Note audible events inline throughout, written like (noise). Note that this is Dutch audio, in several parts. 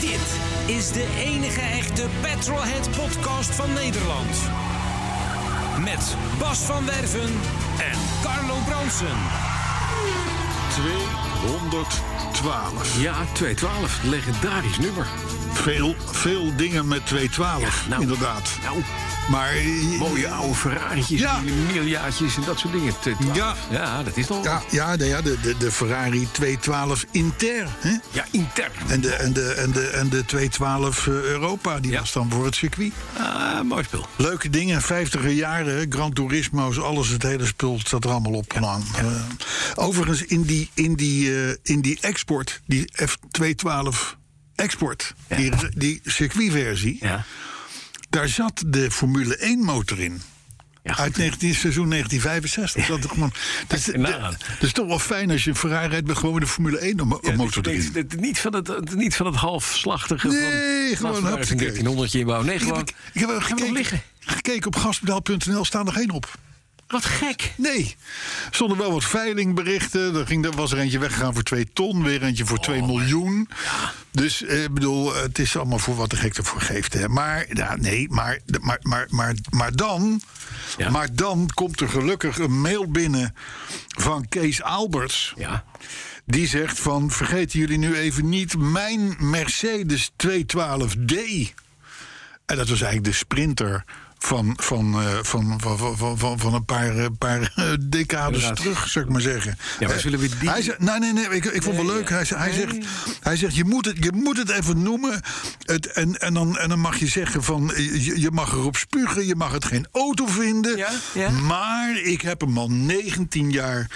Dit is de enige echte Petrolhead podcast van Nederland. Met Bas van Werven en Carlo Bronsen. 212. Ja, 212. Legendarisch nummer. Veel, veel dingen met 212, Ja, nou. inderdaad. Nou, Maar eh, mooie oude Ferrari'tjes, Ja. ja. miljaatjes en dat soort dingen. 212. Ja. ja, dat is toch... ja, ja, nou ja de, de, de Ferrari 212 Inter. Hè? Ja, intern. En, de, en, de, en, de, en de 212 Europa, die Ja. was dan voor het circuit. Ah, mooi spul. Leuke dingen, 50 jaren, Gran Turismo's, alles, het hele spul staat er allemaal op. gedaan. Eh, overigens, in die, in, die, eh, in die export, die F212 export, die, die circuitversie, Ja. daar zat de Formule 1 motor in. Ja, goed. Uit 19, seizoen 1965. Dat, is gewoon, dat, is, Kan je nagaan. dat is toch wel fijn als je een Ferrari rijdt met gewoon de Formule 1 mo- Ja, motor dus erin. je denkt, het- niet van het, het- niet van het halfslachtige. Nee, van, gewoon laten we maar hupsakee. even een 1300 inbouwen. Nee, Ik heb, gewoon. ik, ik heb Gaan we nog gekeken, liggen. gekeken op gaspedaal.nl, staan er geen op. Wat gek. Nee, er stonden wel wat veilingberichten. Er, ging, er was er eentje weggegaan voor 2 ton, weer eentje voor 2 Oh, miljoen. Dus ik bedoel, het is allemaal voor wat de gek ervoor geeft. Hè. Maar, ja, nee, maar, maar, maar, maar, maar, dan, Ja. maar dan komt er gelukkig een mail binnen van Kees Alberts. Ja. Die zegt van, vergeten jullie nu even niet mijn Mercedes 212D. En dat was eigenlijk de sprinter van, van, eh, van, van, van, van, van, van een paar, eh, paar eh, decades Inderdaad. terug, zou ik maar zeggen. Ja, maar Eh, zullen we die- Hij zegt, nee, nee, nee, ik, ik vond het wel leuk. Hij, zegt- hij, zegt, hij zegt, je moet het, je moet het even noemen. Het, en, en, dan, en dan mag je zeggen van, eh, je, je mag erop spugen. Je mag het geen auto vinden. Ja, ja. Maar ik heb hem al 19 jaar.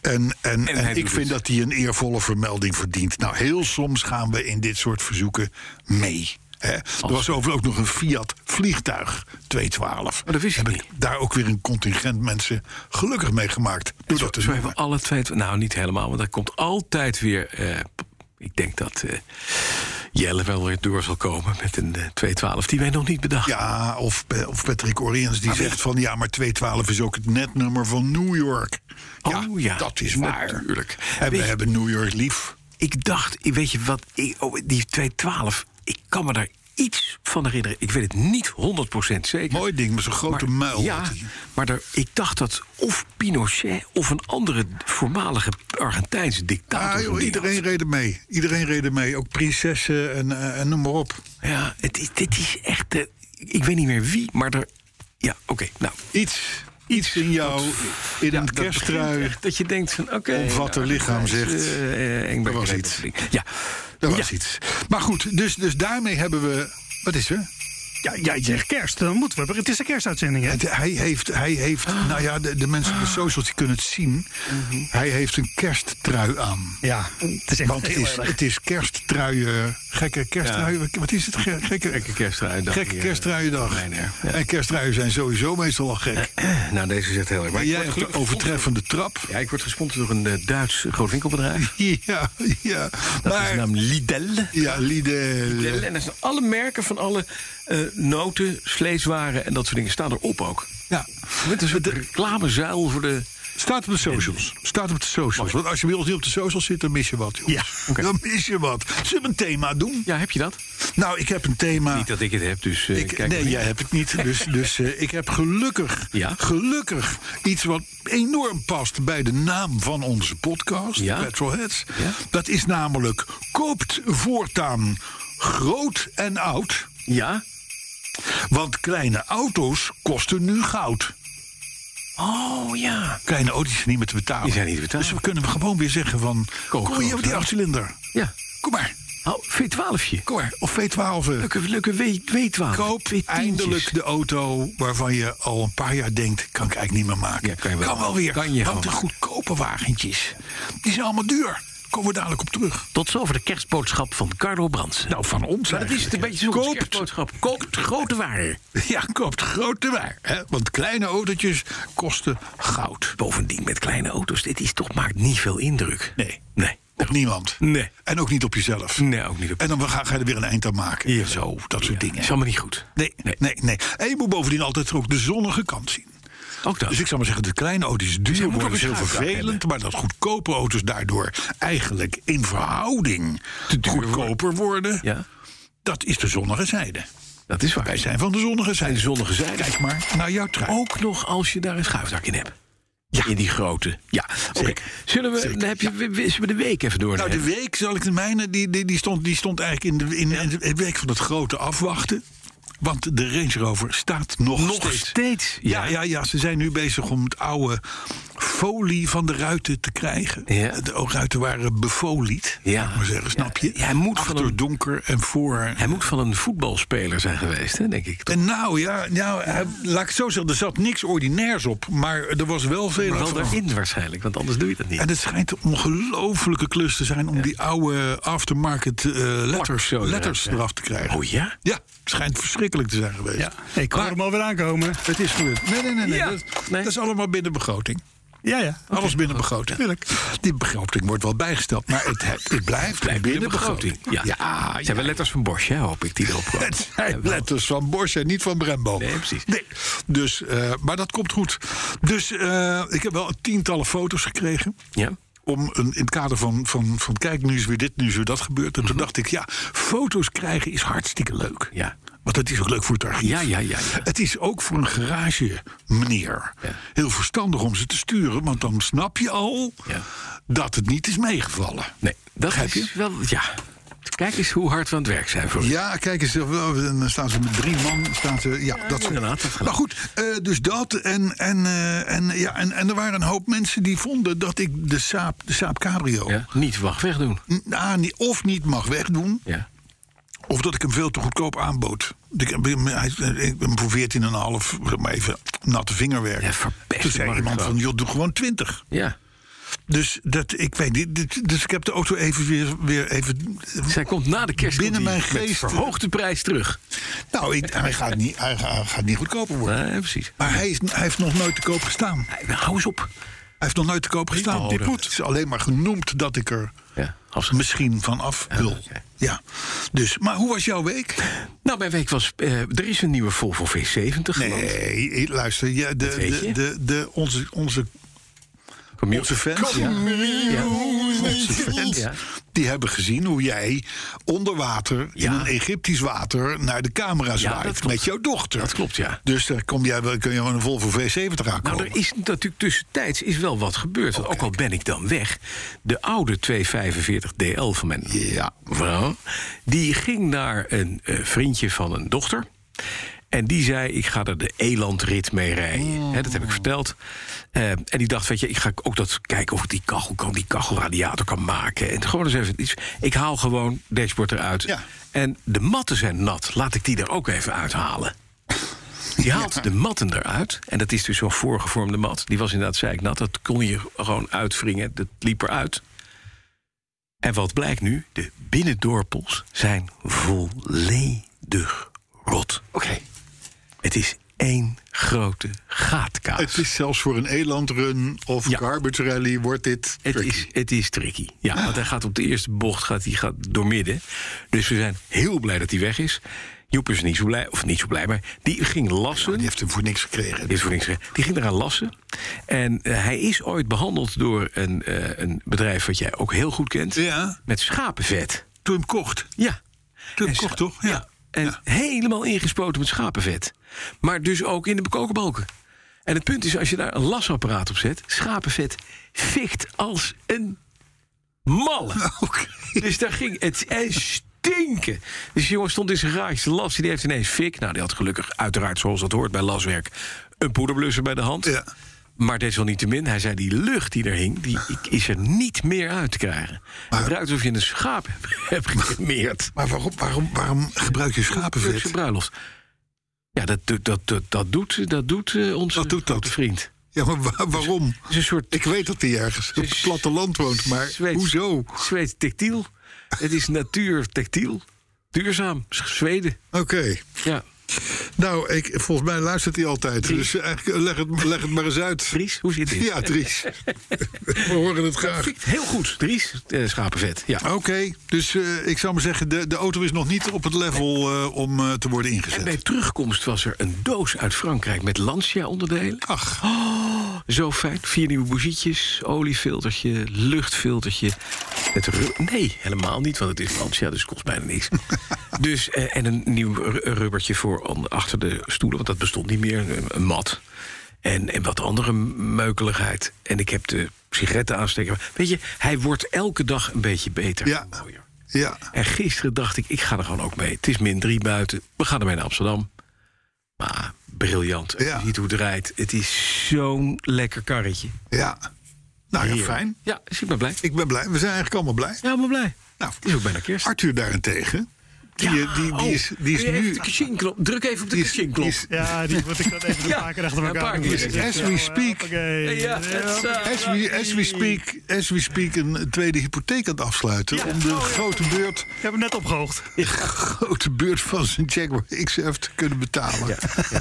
En, en, en, hij doet ik vind het. dat hij een eervolle vermelding verdient. Nou, heel soms gaan we in dit soort verzoeken mee. Hè. Er was overigens ook nog een Fiat vliegtuig 212. Oh, dat wist ik Heb niet. daar ook weer een contingent mensen gelukkig mee gemaakt. Door dat te Zo hebben noemen. we alle twee... Nou, niet helemaal, want daar komt altijd weer... eh, ik denk dat eh, Jelle wel weer door zal komen met een eh, 212 die wij nog niet bedacht Ja, of, Pe- of Patrick Oriens Ah, die zegt van... ja, maar 212 is ook het netnummer van New York. Oh ja, dat is waar. natuurlijk. En we Weet je- hebben New York lief. Ik dacht, ik- weet je wat, ik, oh, die 212, ik kan me daar iets van herinneren. Ik weet het niet 100% zeker. Mooi ding, met zo'n grote Maar- muil. Ja, had hij. maar daar- ik dacht dat of Pinochet of een andere voormalige Argentijnse dictator... Ah, joh, die dat- iedereen reed er mee. Iedereen reed er mee. Ook prinsessen en, eh, en noem maar op. Ja, het is, dit is echt... eh, ik weet niet meer wie, maar er... Ja, oké, nou... Iets, iets in jou, in ja, een dat begint kersttrui. echt Dat je denkt van, oké... nou, Wat er lichaam zegt. dat was iets. Ja. Dat Ja. was iets. Maar goed, dus, dus daarmee hebben we... Wat is er? Ja, jij zegt kerst, dan moeten we. Het is een kerstuitzending, hè? Het- hij heeft, hij heeft Ah. nou ja, de, de mensen op de socials die kunnen het zien. Mhm. Hij heeft een kersttrui aan. Ja, het is echt Want het is, het is kersttruien, gekke kersttruien. Wat is het? Ge- Gekke, Gekke kerstruiendag. Gekke Ja. kersttruiendag. Nee, nee, ja. En kersttruien zijn sowieso meestal al gek. (clears throat) Nou, deze zegt heel erg. Maar Maar ik jij word hebt de gelukkig overtreffende trap. (laughs) gesponsord- Ja, ik word gesponsord door een eh, Duits groot winkelbedrijf. Ja, ja. Dat is Maar, namelijk Lidl. ja, Lidl. Lidl. En dat zijn alle merken van alle eh, noten, vleeswaren en dat soort dingen staan erop ook. Ja. Met een soort reclamezuil voor de... Staat op de socials. Staat op de socials. Want als je bij ons niet op de socials zit, dan mis je wat. Jongens. Ja, oké. Dan mis je wat. Zullen we een thema doen? Ja, heb je dat? Nou, ik heb een thema. Niet dat ik het heb, dus eh, Ik- kijk nee, maar. jij hebt het niet. Dus, dus eh, ik heb gelukkig, Ja. gelukkig iets wat enorm past bij de naam van onze podcast, Ja. Petrolheads. Ja. Dat is namelijk koopt voortaan groot en oud. Ja? Want kleine auto's kosten nu goud. Oh, ja. Kleine auto's zijn niet meer te betalen. Die zijn niet te betalen. Dus we kunnen gewoon weer zeggen van... Koop kom je groot op die en oud. achtcilinder. Ja. Kom maar. Oh, V12. Kom maar, of eh. V12. Leuke, leuke W- W12. Koop Twee tientjes. eindelijk de auto waarvan je al een paar jaar denkt... kan ik eigenlijk niet meer maken. Ja, kan je wel. weer. Kan je Want de gewoon. goedkope wagentjes, die zijn allemaal duur. Komen we dadelijk op terug. Tot zover de kerstboodschap van Carlo Brandsen. Nou, van ons maar dat is het een eigenlijk, beetje hè. zo'n Koopt, kerstboodschap. Koopt grote waren. (laughs) ja, koopt grote waar. Hè? Want kleine autootjes kosten goud. Bovendien met kleine auto's, dit is toch, maakt niet veel indruk. Nee. Nee. Op niemand. Nee. En ook niet op jezelf. Nee, ook niet op- En dan ga, ga je er weer een eind aan maken. Mm. Ja. Zo, dat Ja, soort dingen. Is allemaal niet goed. Nee, nee, nee. En je moet bovendien altijd ook de zonnige kant zien. Ook dat. Dus ik zou maar zeggen, de kleine auto's duur moet ook worden, is een heel schuifdak vervelend. hebben. Maar dat goedkope auto's daardoor eigenlijk in verhouding duur goedkoper worden... Ja, dat is de zonnige zijde. dat is waar. Wij zijn van de zonnige zijde. de zonnige zijde. Oh, Kijk maar naar jouw trein. Ook nog als je daar een schuifdak in hebt. Ja. In die grote. Ja, oké. Zeker. Zullen we, Zeker, dan heb je, we- we- zullen we de week even doornemen? Nou, de week, zal ik de mijne, die, die, die, stond, die stond eigenlijk in de, in, in de week van het grote afwachten. Want de Range Rover staat nog, Nog steeds, Ja. ja. Ja, ja, ze zijn nu bezig om het oude folie van de ruiten te krijgen. Ja. De oh, ruiten waren bevolied, Ja. ja. maar zeggen, snap je? Ja, hij moet van Achter een- donker en voor... Hij moet van een voetbalspeler zijn geweest, hè, denk ik. En nou, ja, nou hij- laat ik het zo zeggen, er zat niks ordinairs op. Maar er was wel veel Maar aan wel veranderd. daarin waarschijnlijk, want anders doe je dat niet. En het schijnt een ongelofelijke klus te zijn om die oude aftermarket eh, letters, zo eruit, letters ja. eraf te krijgen. Oh ja? Ja, het schijnt verschrikkelijk te zijn geweest. Ik hoor Maar- hem alweer aankomen. Het is gebeurd. Nee, nee, nee. nee. Ja. Dat, Nee. dat is allemaal binnen begroting. Ja, ja. Alles binnen begroting. Tuurlijk. Die begroting wordt wel bijgesteld, maar het, het, het blijft, Blijft binnen begroting. Ja. ja, Het zijn wel letters van Bosch, hè, hoop ik, die erop (laughs) komen. Het zijn Ja, wel. letters van Bosch en niet van Brembo. Nee, precies. Nee. Dus, eh, maar dat komt goed. Dus eh, ik heb wel tientallen foto's gekregen. Ja. Om een, in het kader van, van, van kijk, nu is weer dit, nu is weer dat gebeurd. En toen dacht ik, ja, foto's krijgen is hartstikke leuk. Mhm. Ja. Want het is ook leuk voor het archief. Ja, ja, ja, ja. Het is ook voor een garage meneer Ja. heel verstandig om ze te sturen. Want dan snap je al Ja. dat het niet is meegevallen. Nee, dat Begrijp je? is wel... Ja. Kijk eens hoe hard we aan het werk zijn voor u. Ja, kijk eens, dan staan ze met drie man. Staan ze, ja, dat soort- inderdaad, dat geloof ik. maar goed, eh, dus dat. En, en, eh, en, ja, en, en er waren een hoop mensen die vonden dat ik de Saab, de Saab Cabrio... Ja, Niet wacht wegdoen. n- ah, niet- of niet mag wegdoen, Ja. of dat ik hem veel te goedkoop aanbood. Ik, heb hem- hij, ik ben voor 14,5, zeg maar even natte vingerwerk. Ja, verpest Toen zei markt iemand van, gewoon. joh, doe gewoon 20. Ja. Dus, dat, ik weet niet, dit- dus ik heb de auto even weer, weer even... Zij komt na de kerst Binnen komt die mijn met geest- verhoogde prijs terug. Nou, ik, hij, gaat niet, hij gaat- gaat niet goedkoper worden. Nee, precies. Maar hij, is, hij heeft nog nooit te koop gestaan. Hij Hey, nou, hou eens op. heeft nog nooit te koop gestaan. Oh, dat- Het is alleen maar genoemd dat ik er Ja, afscheid. misschien van af wil. oké. Ja. Dus, maar hoe was jouw week? Nou, mijn week was... eh, er is een nieuwe Volvo V70 geland. Nee, luister. Ja, de, weet de, je. de, de, onze, onze, Commu- onze fans, ja, Ja. Onze fans. Ja. die hebben gezien hoe jij onder water, in Ja. een Egyptisch water, naar de camera dat zwaait klopt. met jouw dochter. Dat klopt, ja. Dus daar kom jij, wel- kun je wel een Volvo V70 aankomen. Nou, er is natuurlijk tussentijds is wel wat gebeurd. Oh, Want ook al ben ik dan weg, de oude 245 DL van mijn Ja. vrouw... die ging naar een eh, vriendje van een dochter... En die zei, ik ga er de Elandrit mee rijden. Hè, dat heb ik verteld. Eh, en die dacht, weet je, ik ga ook dat kijken of ik die kachel kan, die kachelradiator kan maken. En gewoon eens even iets. Ik haal gewoon dashboard eruit. Ja. En de matten zijn nat. Laat ik die er ook even uithalen. Je haalt de matten eruit. En dat is dus zo'n voorgevormde mat. Die was inderdaad zeiknat. Dat kon je gewoon uitwringen. Dat liep eruit. En wat blijkt nu? De binnendorpels zijn volledig rot. Oké. Het is één grote gaatkaas. Het is zelfs voor een elandrun of Ja. garbage rally wordt dit Het tricky. Ah. is, het is tricky. Ja, want hij gaat op de eerste bocht gaat, die gaat doormidden. Dus we zijn heel blij dat hij weg is. Joep is niet zo blij, of niet zo blij, maar die ging lassen. Die heeft hem voor niks gekregen. Dit is voor niks. hè. Die ging eraan lassen. En eh, hij is ooit behandeld door een, eh, een bedrijf wat jij ook heel goed kent. Ja. Met schapenvet. Toen hem kocht. Ja. Toen hem En kocht, scha- toch? Ja. En Ja. helemaal ingespoten met schapenvet. Maar dus ook in de kokerbalken. En het punt is, als je daar een lasapparaat op zet... schapenvet fikt als een malle. (laughs) Oké. Dus daar ging het en stinken. Dus die jongen stond in zijn garage. Las, die heeft ineens fik. Nou, die had gelukkig, uiteraard, zoals dat hoort bij laswerk... een poederblusser bij de hand. Ja. Maar desalniettemin, hij zei, die lucht die er hing... die ik- is er niet meer uit te krijgen. het ruikt alsof je een schaap (laughs) hebt gecremeerd. Maar waarom, waarom, waarom gebruik je Turkse schapenvet? bruiloft. Ja, dat, doet- dat, dat, dat doet, dat doet eh, onze Dat doet dat. grote vriend. Ja, maar wa- waarom? Het is een soort Ik weet dat hij ergens op het platteland woont, maar Zweeds- hoezo? Zweeds textiel. Het is natuur textiel. Duurzaam. Z- Zweden. Oké. Ja. Nou, ik, volgens mij luistert hij altijd. Dries. Dus eigenlijk, leg het, leg het maar eens uit. Dries, hoe zit dit? Ja, Dries. We horen het graag. Perfect. Heel goed. Dries, eh, schapenvet. Ja. Oké, dus eh, ik zou maar zeggen, de, de auto is nog niet op het level eh, om eh, te worden En bij ingezet. terugkomst was er een doos uit Frankrijk met Lancia-onderdelen. Oh, Ach, Zo fijn. Vier nieuwe bougietjes, oliefiltertje, luchtfiltertje. Het ru- nee, helemaal niet, want het is Lancia, dus het kost bijna (laughs) niks. dus, eh, en een nieuw ru- rubbertje voor on- achter de stoelen, want dat bestond niet meer. Een, een mat. En, en wat andere meukeligheid. En ik heb de sigaretten aansteker. Weet je, hij wordt elke dag een beetje beter. Ja. en mooier. ja. En gisteren dacht ik, ik ga er gewoon ook mee. Het is min drie buiten. We gaan ermee naar Amsterdam. Maar briljant. Ja. Je ziet hoe het rijdt. Het is zo'n lekker karretje. Ja. Nou ja, fijn. Ja, dus ik ben blij. Ik ben blij. We zijn eigenlijk allemaal blij. Ja, ik ben blij. Nou, Het is ook bijna kerst. oh. Arthur daarentegen, die, eh, die, die is, die is Kun je even nu... de kaching-knop- Druk even op de Oh. Die is, die kaching-knop. is- Ja, die moet ik dan even een Ja, paar keer achter een elkaar paar doen. keer. As we speak. Hoppakee. Ja, het, Ja. eh, As we, as we speak, as we speak een tweede hypotheek aan het afsluiten... om Oh, de grote, beurt, Ik heb hem net opgehoogd. grote beurt van zijn Jaguar XF te kunnen betalen.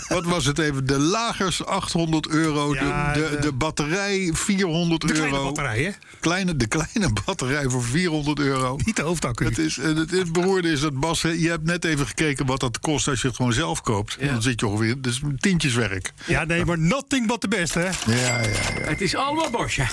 Wat was het even? De lagers 800 euro, Ja, de, de, de- de batterij 400 De kleine euro. batterij, hè? Kleine, de kleine batterij voor 400 euro. Niet de hoofdaccu. Het, is, en het, het beroerde is dat, Bas, hè, je hebt net even gekeken wat dat kost als je het gewoon zelf koopt. En Dan zit je ongeveer, dus tientjeswerk. Ja, nee, maar nothing but the best, hè? Ja, ja, ja. Het is allemaal bosje.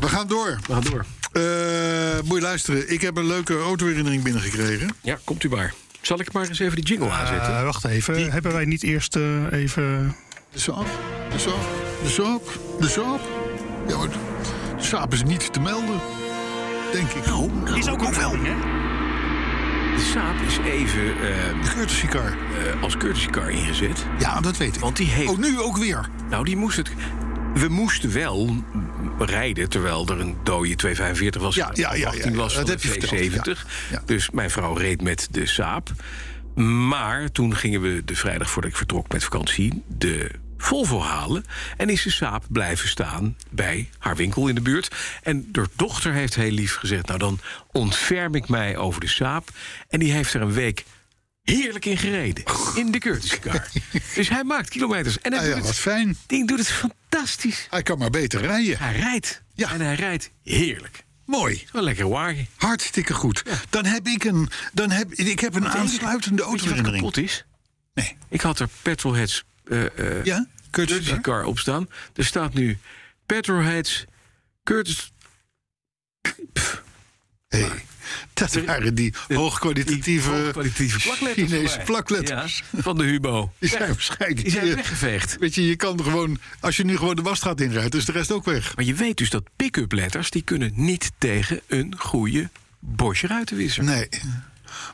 We gaan door. We gaan door. Eh, moet je luisteren, ik heb een leuke autoherinnering binnengekregen. Ja, komt u maar. Zal ik maar eens even die jingle aanzetten? Eh, wacht even. Hebben wij niet eerst eh, even... De saap, de saap, de saap, de saap. Ja, maar de saap is niet te melden, denk ik. Nou, Is ook een wel, hè? De saap is even eh, de courtesy car. eh, als courtesy car ingezet. Ja, dat weet ik. Want die heeft Oh, nu ook weer. Nou, die moest het. We moesten wel mm, rijden terwijl er een dode 245 was. Ja, ja, ja, ja, 18 ja, was dat van heb je de verteld, 70. ja, ja. Dus mijn vrouw reed met de Saab. Maar toen gingen we de vrijdag voordat ik vertrok met vakantie de Volvo halen. En is de Saab blijven staan bij haar winkel in de buurt. En haar dochter heeft heel lief gezegd... nou, dan ontferm ik mij over de Saab. En die heeft er een week heerlijk in gereden. In de courtesy car. (laughs) dus hij maakt kilometers. En hij Ah, ja, doet wat het fijn. ding doet het fantastisch. Hij kan maar beter rijden. Hij rijdt. Ja. En hij rijdt heerlijk. Mooi. Wel lekker wagen. Hartstikke goed. Dan heb ik een, dan heb, ik heb een aansluitende Weet je wat autoherinnering. kapot is? Nee. Ik had er Petrolheads eh eh Ja? Curtis Courtesy Car op staan. Er staat nu Petrolheads Curtis... Hey, dat waren die hoogkwalitatieve, kwalitatieve plakletters. Chinese voor mij. plakletters. Ja, van de Hubo. Die zijn Weg. waarschijnlijk... Die zijn weggeveegd. Weet je, je kan gewoon... Als je nu gewoon de wasstraat inrijdt, is de rest ook weg. Maar je weet dus dat pick-up letters... die kunnen niet tegen een goede Bosch ruitenwisser. Nee.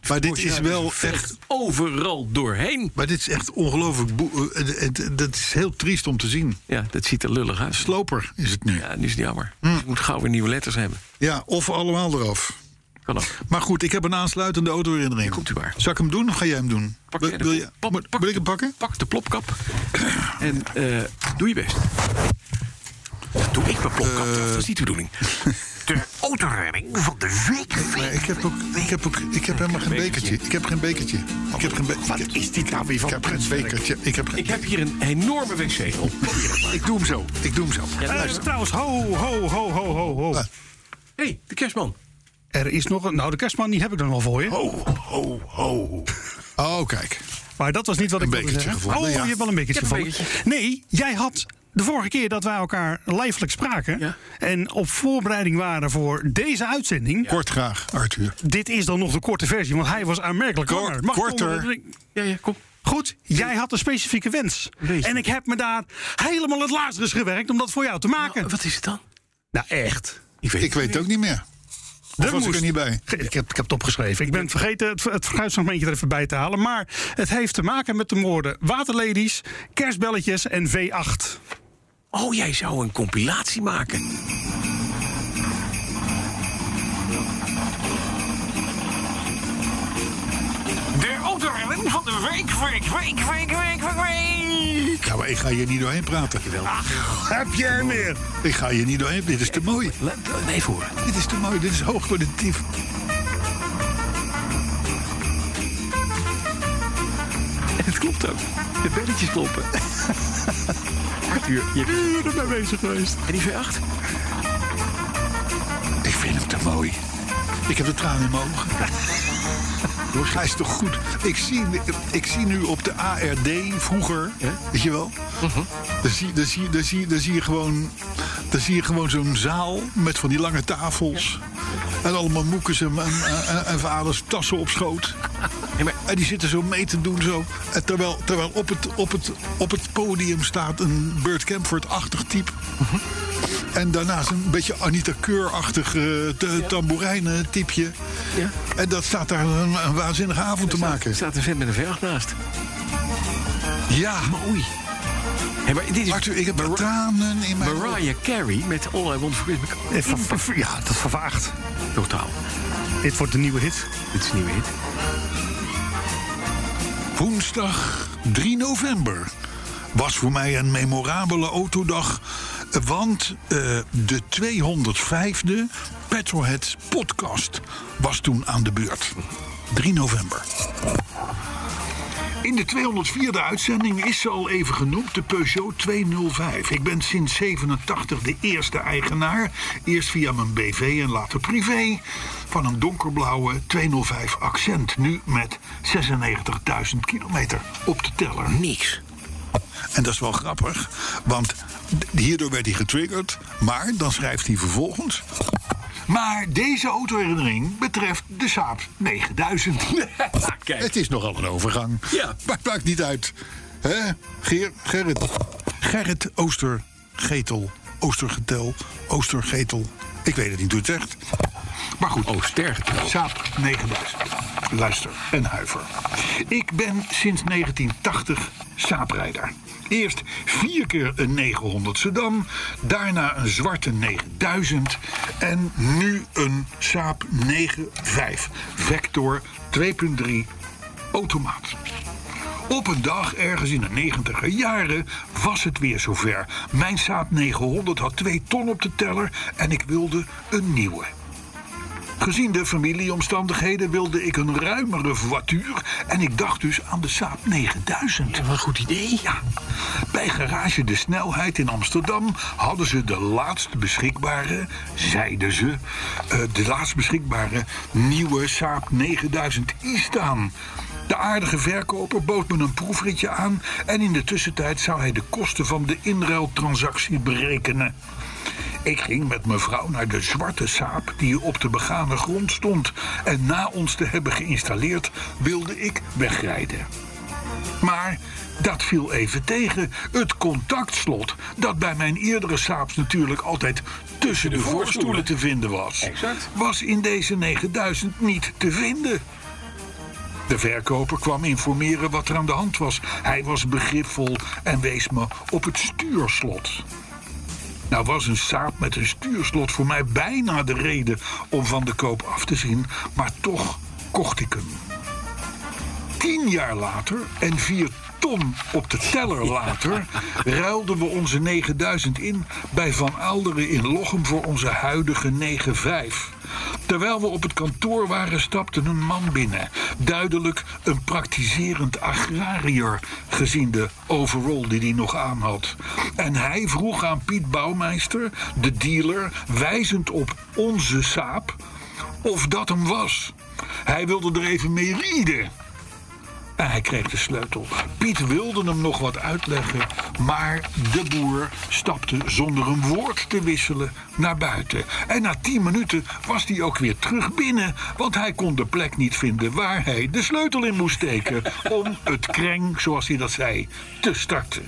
Maar dit Bosch is wel ruitenwisser veegt echt... overal doorheen. Maar dit is echt ongelooflijk... boe- eh, het- het- Dat is heel triest om te zien. Ja, dat ziet er lullig uit. Sloper is het nu. Ja, nu is het jammer. Hm. Dus ik moet gauw weer nieuwe letters hebben. Ja, of allemaal eraf. Kan ook. Maar goed, ik heb een aansluitende autoherinnering. Komt u maar. Zal ik hem doen of ga jij hem doen? Pak Wil- jij de wil, plop- je, pak- moet- pak wil ik de- hem pakken? Pak de plopkap en eh, doe je best. Dat doe ik mijn plopkap, Eh. dat is niet de bedoeling. De autoredding van de week. Nee, ik heb ook, ik heb ook, ik heb helemaal geen bekertje. Ik heb geen bekertje. Ik heb geen bekertje. Wat is dit nou weer van Ik heb geen bekertje. Ik heb geen- Ik heb hier een enorme wc op. Ik doe hem zo. Ik doe hem zo. Eh, Luister. trouwens, ho, ho, ho, ho, ho, ho. Ah. Hé, hey, de kerstman. Er is nog een... Nou, de kerstman, die heb ik dan al voor je. Ho, ho, ho. Oh, kijk. Maar dat was niet wat Een ik wilde bekertje zeggen. gevonden, Oh, ja. je hebt wel een bekertje Ik heb een gevonden. Nee, jij had de vorige keer dat wij elkaar lijfelijk spraken... Ja. en op voorbereiding waren voor deze uitzending... Kort graag, Arthur. Dit is dan nog de korte versie, want hij was aanmerkelijk Kort- langer. ik korter. onder- Ja, ja, kom. Goed, jij had een specifieke wens. Jeetje. En ik heb me daar helemaal het laatst dus gewerkt om dat voor jou te maken. Wat is het dan? Nou, echt. weet Ik weet het ook niet meer. Dat was ik er niet bij? Ik heb, ik heb het opgeschreven. Ik ben het vergeten het, het fruitsegmentje er even bij te halen. Maar het heeft te maken met de moorden waterlelies, kerstbelletjes en V8. Oh, jij zou een compilatie maken. De autoherinnering van de week, week, week, week, week, week, week. Ja, maar ik ga hier niet doorheen praten. Ach, heb je er meer? Ik ga hier niet doorheen. Dit is te mooi. Laat- Even horen. Dit is te mooi. Dit is hoogkwalitatief. En (laughs) het klopt ook. De belletjes (laughs) kloppen. Acht uur. Je bent Uren mee bezig geweest. en die V8? Ik vind hem te mooi. Ik heb de tranen in mijn (laughs) ogen. Hij is toch goed? Ik zie, ik zie nu op de ARD vroeger, weet je wel? Dan zie, dan zie, dan zie, dan zie je gewoon, dan zie je gewoon zo'n zaal met van die lange tafels. En allemaal moekes en, en, en, en vaders tassen op schoot. En die zitten zo mee te doen zo. En terwijl terwijl op, het, op, het, op het podium staat een Burt Camford-achtig type. En daarnaast een beetje Anita Keur-achtig eh, te- tamboerijnen-typje. Ja. En dat staat daar een, een waanzinnige avond te maken. Er staat een vent met een V8 naast. Ja, Mooi. Hey, maar dit is Arthur, ik heb tranen in mijn ogen. Mariah Carey met All I Want For Christmas. Eh, ver- ver- ver- Ja, dat vervaagt. Totaal. Dit wordt de nieuwe hit. Dit is een nieuwe hit. Woensdag 3 november was voor mij een memorabele autodag. Want eh, de 205e Petrolhead podcast was toen aan de beurt. 3 november. In de 204e uitzending is ze al even genoemd, de Peugeot 205. Ik ben sinds 87 de eerste eigenaar. Eerst via mijn BV en later privé. Van een donkerblauwe 205 accent. Nu met 96.000 kilometer op de teller. Niks. En dat is wel grappig, want d- hierdoor werd hij getriggerd. Maar dan schrijft hij vervolgens. Maar deze autoherinnering betreft de Saab 9000. (laughs) kijk. Het is nogal een overgang. Ja. Maar het (laughs) maakt niet uit. Hè? Geer, Gerrit. Gerrit Oostergetel. Oostergetel. Oostergetel. Ik weet het niet hoe het zegt. Maar goed. Oh, sterk. Saap 9000. Luister en huiver. Ik ben sinds 1980 saaprijder. Eerst vier keer een 900 sedan, daarna een zwarte 9000 en nu een Saab 95 Vector 2.3 automaat. Op een dag, ergens in de negentiger jaren, was het weer zover. Mijn Saab 900 had twee ton op de teller en ik wilde een nieuwe. Gezien de familieomstandigheden wilde ik een ruimere voituur en ik dacht dus aan de Saab 9000. Wat een goed idee. Ja. Bij Garage De Snelheid in Amsterdam hadden ze de laatst beschikbare, zeiden ze, eh, de laatst beschikbare nieuwe Saab 9000 i staan. De aardige verkoper bood me een proefritje aan en in de tussentijd zou hij de kosten van de inruiltransactie berekenen. Ik ging met mevrouw naar de zwarte saap die op de begane grond stond. En na ons te hebben geïnstalleerd, wilde ik wegrijden. Maar dat viel even tegen. Het contactslot, dat bij mijn eerdere saaps natuurlijk altijd tussen de voorstoelen te vinden was, was in deze 9000 niet te vinden. De verkoper kwam informeren wat er aan de hand was. Hij was begripvol en wees me op het stuurslot. Nou was een saap met een stuurslot voor mij bijna de reden om van de koop af te zien, maar toch kocht ik hem. Tien jaar later en vier ton op de teller later ruilden we onze 9000 in bij Van Alderen in Lochem voor onze huidige 95. Terwijl we op het kantoor waren, stapte een man binnen. Duidelijk een praktiserend agrariër, gezien de overall die hij nog aan had. En hij vroeg aan Piet Bouwmeister, de dealer, wijzend op onze saap, of dat hem was. Hij wilde er even mee rieden. En Nou, hij kreeg de sleutel. Piet wilde hem nog wat uitleggen, maar de boer stapte zonder een woord te wisselen naar buiten. En na tien minuten was hij ook weer terug binnen, want hij kon de plek niet vinden waar hij de sleutel in moest steken om het kreng, zoals hij dat zei, te starten.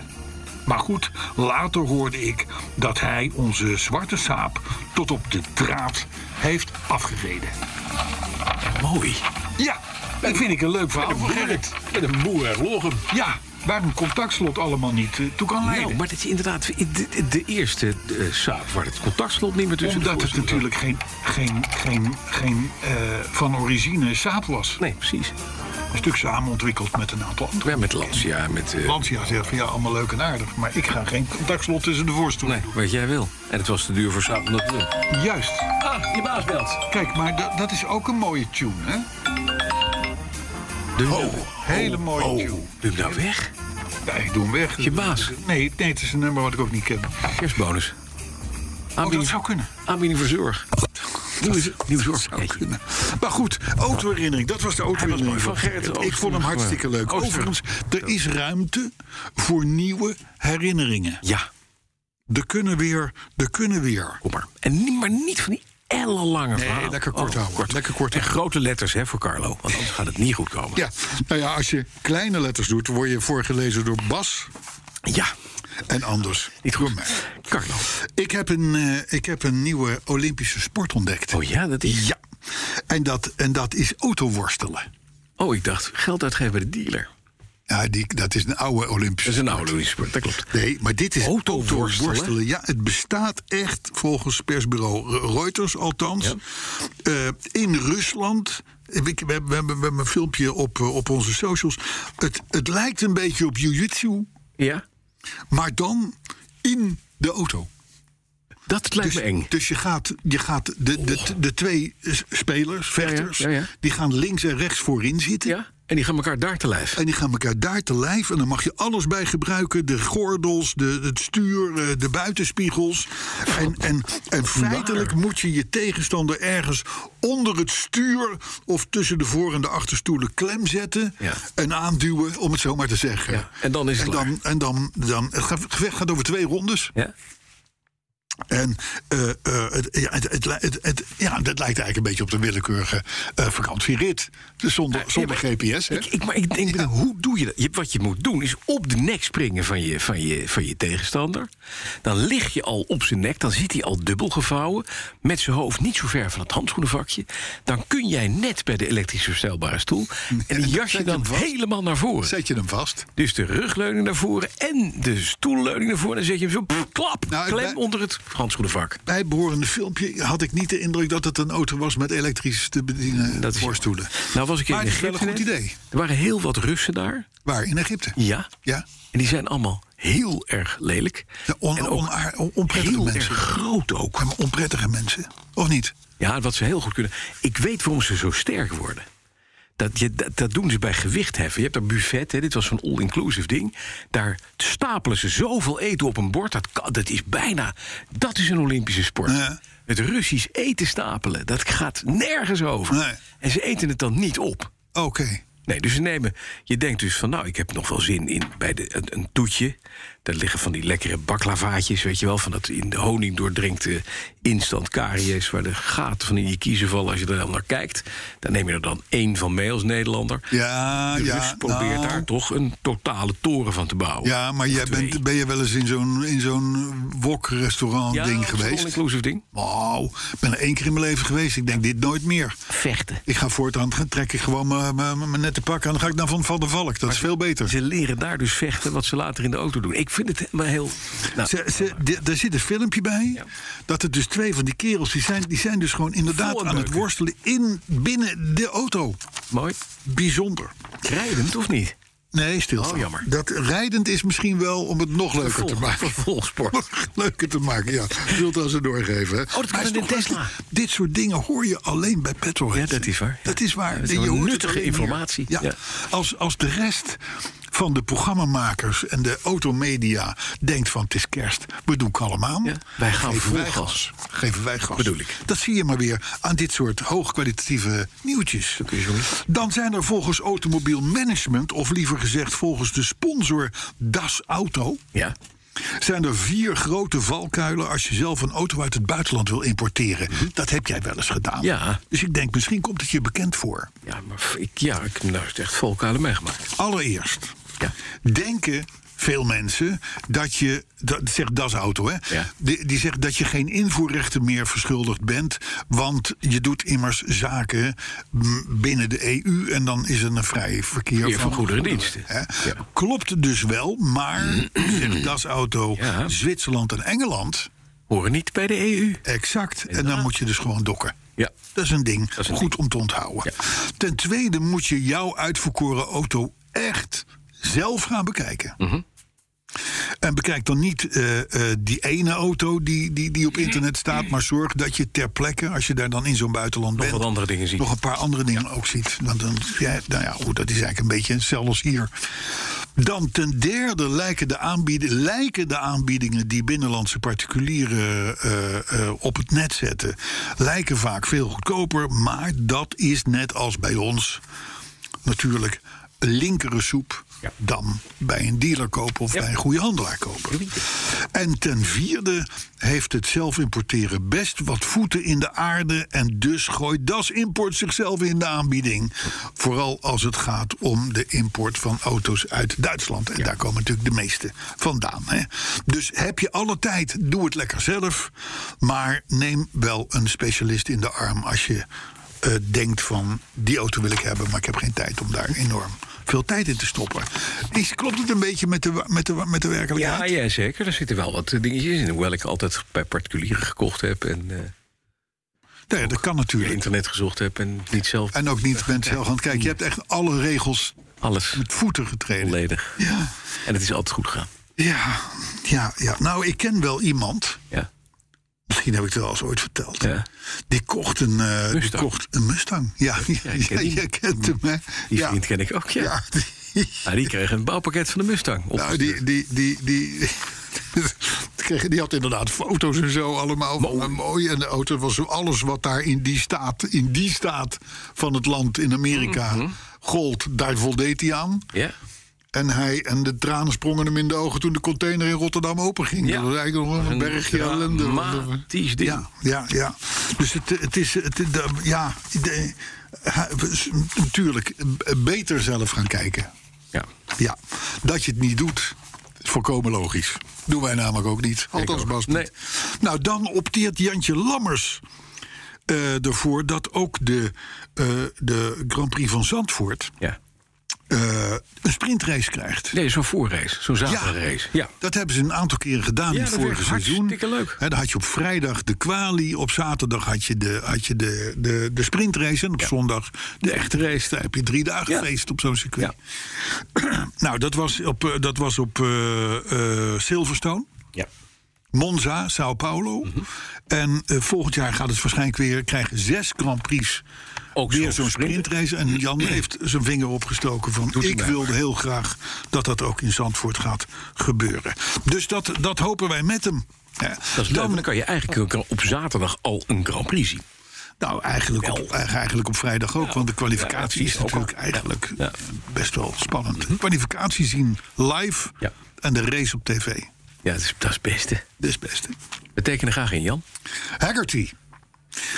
Maar goed, later hoorde ik dat hij onze zwarte saap tot op de draad heeft afgereden. Mooi. Ja, dat vind ik een eh, leuk verhaal van Oh, Gerrit. Met een boer en logem. Ja, waarom komt contactslot allemaal niet eh, toe kan leiden. Nou, maar dat is inderdaad de, de eerste eh, zaak waar het contactslot niet meer tussen Omdat het voorstel- natuurlijk geen, geen, geen, geen eh, van origine zaad was. Nee, precies. Een stuk samen ontwikkeld met een aantal anderen. Ja, met Lancia, met... eh, Lancia zegt van ja, allemaal leuk en aardig. Maar ik ga geen contactslot tussen de voorstoelen nee, wat jij wil. En het was te duur voor Saab om dat te doen. doen. Juist. Ah, je baas belt. Kijk, maar da- dat is ook een mooie tune, hè? De Hele mooie tune. Doe hem nou weg. Nee, ik doe hem weg. Je baas. Nee, nee, het is een nummer wat ik ook niet ken. Oh, Kerstbonus. dat Aanbieding, zou kunnen. aanbieding voor zorg. Nieuw zorg. Zou kunnen. Maar goed, autoherinnering. Dat was de autoherinnering Hij was van mooi. Gerrit. Gerrit Ik vond Oosterman. hem hartstikke leuk. Oosterman. Overigens, er is ruimte voor nieuwe herinneringen. Ja, Er kunnen weer, er kunnen weer. kom maar. En niet, maar niet van die ellenlange nee, verhalen. Oh, lekker kort houden. Lekker kort en grote letters hè, voor Carlo. Want anders gaat het niet goed komen. Ja, nou ja, als je kleine letters doet, word je voorgelezen door Bas Ja, en anders niet door goed. mij. Carlo. Ik heb, een, eh, ik heb een nieuwe Olympische sport ontdekt. Oh ja, dat is... Ja, en dat, en dat is autoworstelen. Oh, ik dacht, geld uitgeven bij de dealer. Ja, die, dat is een oude Olympische Dat is een oude Louis Sport, dat klopt. Nee, maar dit is Autoworstelen? autoworstelen. Ja, het bestaat echt volgens persbureau Reuters althans. eh, in Rusland. Ik- We, we, we, we hebben een filmpje op, eh, op onze socials. Het, het lijkt een beetje op jiu-jitsu, Ja, maar dan in de auto. dat lijkt Dus, me eng. dus je gaat, je gaat de, de, de twee s- spelers, vechters, Oh. ja, ja. die gaan links en rechts voorin zitten. Ja, en die gaan elkaar daar te lijf. En die gaan elkaar daar te lijf. En dan mag je alles bij gebruiken. De gordels, de, het stuur, eh, de buitenspiegels. En, en, en feitelijk moet je je tegenstander ergens onder het stuur... of tussen de voor- en de achterstoelen klem zetten. Ja. En aanduwen, om het zo maar te zeggen. Ja, en dan is het en dan, en dan, dan Het gaat- het gevecht gaat over twee rondes. Ja? En eh, eh, het, ja, het, het, li- het- het- ja, dat lijkt eigenlijk een beetje op de willekeurige eh, vakantierit. Dus zonder, zonder Ja, maar- GPS, hè? Ik, ik- maar ik denk, hoe doe je dat? Je- wat je moet doen is op de nek springen van je, van, je, van je tegenstander. Dan lig je al op zijn nek, dan zit hij al dubbel gevouwen... met zijn hoofd niet zo ver van het handschoenenvakje. Dan kun jij net bij de elektrisch verstelbare stoel... en die jas je zet je dan hem vast. helemaal naar voren. Zet je hem vast. Dus de rugleuning naar voren en de stoelleuning naar voren... en dan zet je hem zo pff, klap, Nou, het klem blij- onder het handschoenenvak. bijbehorende filmpje had ik niet de indruk dat het een auto was met elektrisch te bedienen Dat is voorstoelen. Nou was ik in Maar het is wel Egypte een goed net. idee. Er waren heel wat Russen daar. Waar? In Egypte? Ja. Ja. En die zijn allemaal heel erg lelijk. Ja, on- en ook onaar- on- onprettige heel mensen. erg groot ook. Ja, maar onprettige mensen. Of niet? Ja, wat ze heel goed kunnen. Ik weet waarom ze zo sterk worden. Dat, je, dat, dat doen ze bij gewichtheffen. Je hebt daar buffet, hè, dit was zo'n all-inclusive ding. Daar stapelen ze zoveel eten op een bord. Dat, kan- dat is bijna. Dat is een Olympische sport. Ja. Het Russisch eten stapelen, dat gaat nergens over. Nee. En ze eten het dan niet op. Oké. Nee, dus ze nemen. Je denkt dus van, nou, ik heb nog wel zin in bij de, een, een toetje. Daar liggen van die lekkere baklavaatjes, weet je wel, van dat in de honing doordrinkte instant caries, waar de gaten van in je kiezen vallen als je er dan naar kijkt. Daar neem je er dan één van mee als Nederlander. Ja, de ja. Rus probeert nou, daar toch een totale toren van te bouwen. Ja, maar jij twee. bent, ben je wel eens in zo'n, in zo'n Ja, wok-restaurant-ding dat is een geweest? all-inclusive ding. Wauw, ik ben er één keer in mijn leven geweest. Ik denk dit nooit meer. Vechten. Ik ga voortaan trek ik gewoon mijn- mijn mijn nette pak aan. Dan ga ik naar Van Van der Valk. Dat is veel beter. Ze leren daar dus vechten wat ze later in de auto doen. Ik vind het maar heel. Nou, Ze, ze, de- er zit een filmpje bij. Dat er dus twee van die kerels. die zijn, die zijn dus gewoon inderdaad Vol aan aan het beuken. worstelen. In, binnen de auto. mooi. Bijzonder. Rijdend of niet? Nee, stilstaan. Oh, jammer. Dat rijdend is misschien wel om het nog leuker te Vervolg- maken. vervolgsport. Nog leuker te maken, ja. Zult als ze doorgeven. Hè? Oh, dat kan Maar in is de toch Tesla. leuk? Dit soort dingen hoor je alleen bij petrolheads. Ja, dat is waar. Dat is waar. Ja, dat is Je wel hoort het nuttige alleen hier. informatie. Ja. Ja. Als, als de rest van de programmamakers en de automedia denkt van het is kerst, we doen kalm aan. Ja, wij gaan geven vol wij gas. Geven wij gas. Bedoel ik. Dat zie je maar weer aan dit soort hoogkwalitatieve nieuwtjes. kun je zo doen. Dan zijn er volgens Automobiel Management, of liever gezegd volgens de sponsor Das Auto, Ja. zijn er vier grote valkuilen als je zelf een auto uit het buitenland wil importeren. Dat heb jij wel eens gedaan. Mhm. Ja. Dus ik denk, misschien komt het je bekend voor. Ja, maar f- ik, ja, ik heb nou echt volkalen meegemaakt. Allereerst, Ja. denken veel mensen dat je, dat zegt Das Auto, hè? Ja. Die, die zegt dat je geen invoerrechten meer verschuldigd bent, want je doet immers zaken mm, binnen de EU en dan is er een vrij verkeer Verkeer van goederen en diensten. hè? Ja. Klopt dus wel, maar zegt Das Auto, Ja. Zwitserland en Engeland, Horen niet bij de EU. exact, en dan moet je dus gewoon dokken. Ja. Dat is een ding. is een Goed om te onthouden. Ja. Ten tweede moet je jouw uitverkoren auto echt zelf gaan bekijken. Mhm. En bekijk dan niet eh, eh, die ene auto die, die, die op internet staat. Maar zorg dat je ter plekke, als je daar dan in zo'n buitenland bent. wat andere dingen ziet. Nog een paar andere dingen ook ziet. Want dan, ja, nou ja, goed, dat is eigenlijk een beetje hetzelfde als hier. Dan ten derde lijken de, aanbied- lijken de aanbiedingen die binnenlandse particulieren eh, eh, op het net zetten, lijken vaak veel goedkoper. Maar dat is net als bij ons natuurlijk linkere soep Ja. dan bij een dealer kopen of Ja. bij een goede handelaar kopen. En ten vierde heeft het zelf importeren best wat voeten in de aarde en dus gooit Das Import zichzelf in de aanbieding. Vooral als het gaat om de import van auto's uit Duitsland. En daar komen natuurlijk de meeste vandaan. Hè? Dus heb je alle tijd, doe het lekker zelf. Maar neem wel een specialist in de arm als je eh, denkt van die auto wil ik hebben, maar ik heb geen tijd om daar enorm veel tijd in te stoppen. Is, klopt het een beetje met de, wa- met de, wa- met de werkelijkheid? Ja, ja, zeker. Er zitten wel wat eh, dingetjes in. Hoewel ik altijd bij particulieren gekocht heb en eh, Nee, dat kan via natuurlijk. internet gezocht heb en niet zelf En ook niet bent zelf aan het kijken. Je hebt echt alle regels alles met voeten getreden. volledig. Ja, En het is altijd goed gegaan. ja, ja, ja. Nou, ik ken wel iemand. Ja. Misschien heb ik het wel eens ooit verteld. Ja. Die kocht een, eh, die Mustang. kocht een Mustang. Ja, ja, ik ken die. je kent hem, hè? Die ja. vriend ken ik ook, ja. Ja, die, Ah, die kreeg een bouwpakket van de Mustang. nou, die, die, die, die, (laughs) kreeg- die had inderdaad foto's en zo allemaal van eh, mooi. En de auto was zo alles wat daar in die staat, in die staat van het land in Amerika Mhm. gold. Daar voldeed hij aan. Ja. En, hij, en de tranen sprongen hem in de ogen toen de container in Rotterdam openging. Ja. Dat was eigenlijk nog een Een bergje ellende. dramatisch ding. Ja, ja, ja. Dus het, het is... Het, de- ja, de- ha- we- natuurlijk, eh, beter zelf gaan kijken. ja. Ja, dat je het niet doet, is volkomen logisch. Doen wij namelijk ook niet. Althans, ook. Bas niet. Nee. Nou, dan opteert Jantje Lammers eh, ervoor dat ook de, eh, de Grand Prix van Zandvoort ja. eh, een sprintrace krijgt. Nee, zo'n voorrace. Zo'n zaterdagrace. Ja. dat hebben ze een aantal keren gedaan Ja, in het dat werd vorige seizoen. hartstikke leuk. Hè, dan had je op vrijdag de quali, op zaterdag had je de, had je de, de, de sprintrace... en op zondag de echte race. Daar heb je drie dagen Ja. feest op zo'n circuit. (clears throat) Nou, dat was op, eh, dat was op eh, eh, Silverstone. Ja. Mhm. Monza, Sao Paulo. En eh, volgend jaar gaat het waarschijnlijk weer krijgen zes Grand Prix. Ook weer zo'n zo'n sprint. sprintrace. En Jan heeft zijn vinger opgestoken van... Doet hij ik maar. wilde heel graag dat dat ook in Zandvoort gaat gebeuren. Dus dat, dat hopen wij met hem. Ja. Dat is leuk, want dan kan je eigenlijk ook op zaterdag al een Grand Prix zien. Nou, eigenlijk op, Wel. eigenlijk op vrijdag ook. Ja, want de ja, dat kwalificatie zie is je ook natuurlijk al. eigenlijk eh, Ja. Mhm. best wel spannend. Kwalificatie zien live Ja. en de race op tv. Ja, dat is, dat is het beste. Dat is het beste. We tekenen graag in, Jan. Haggerty.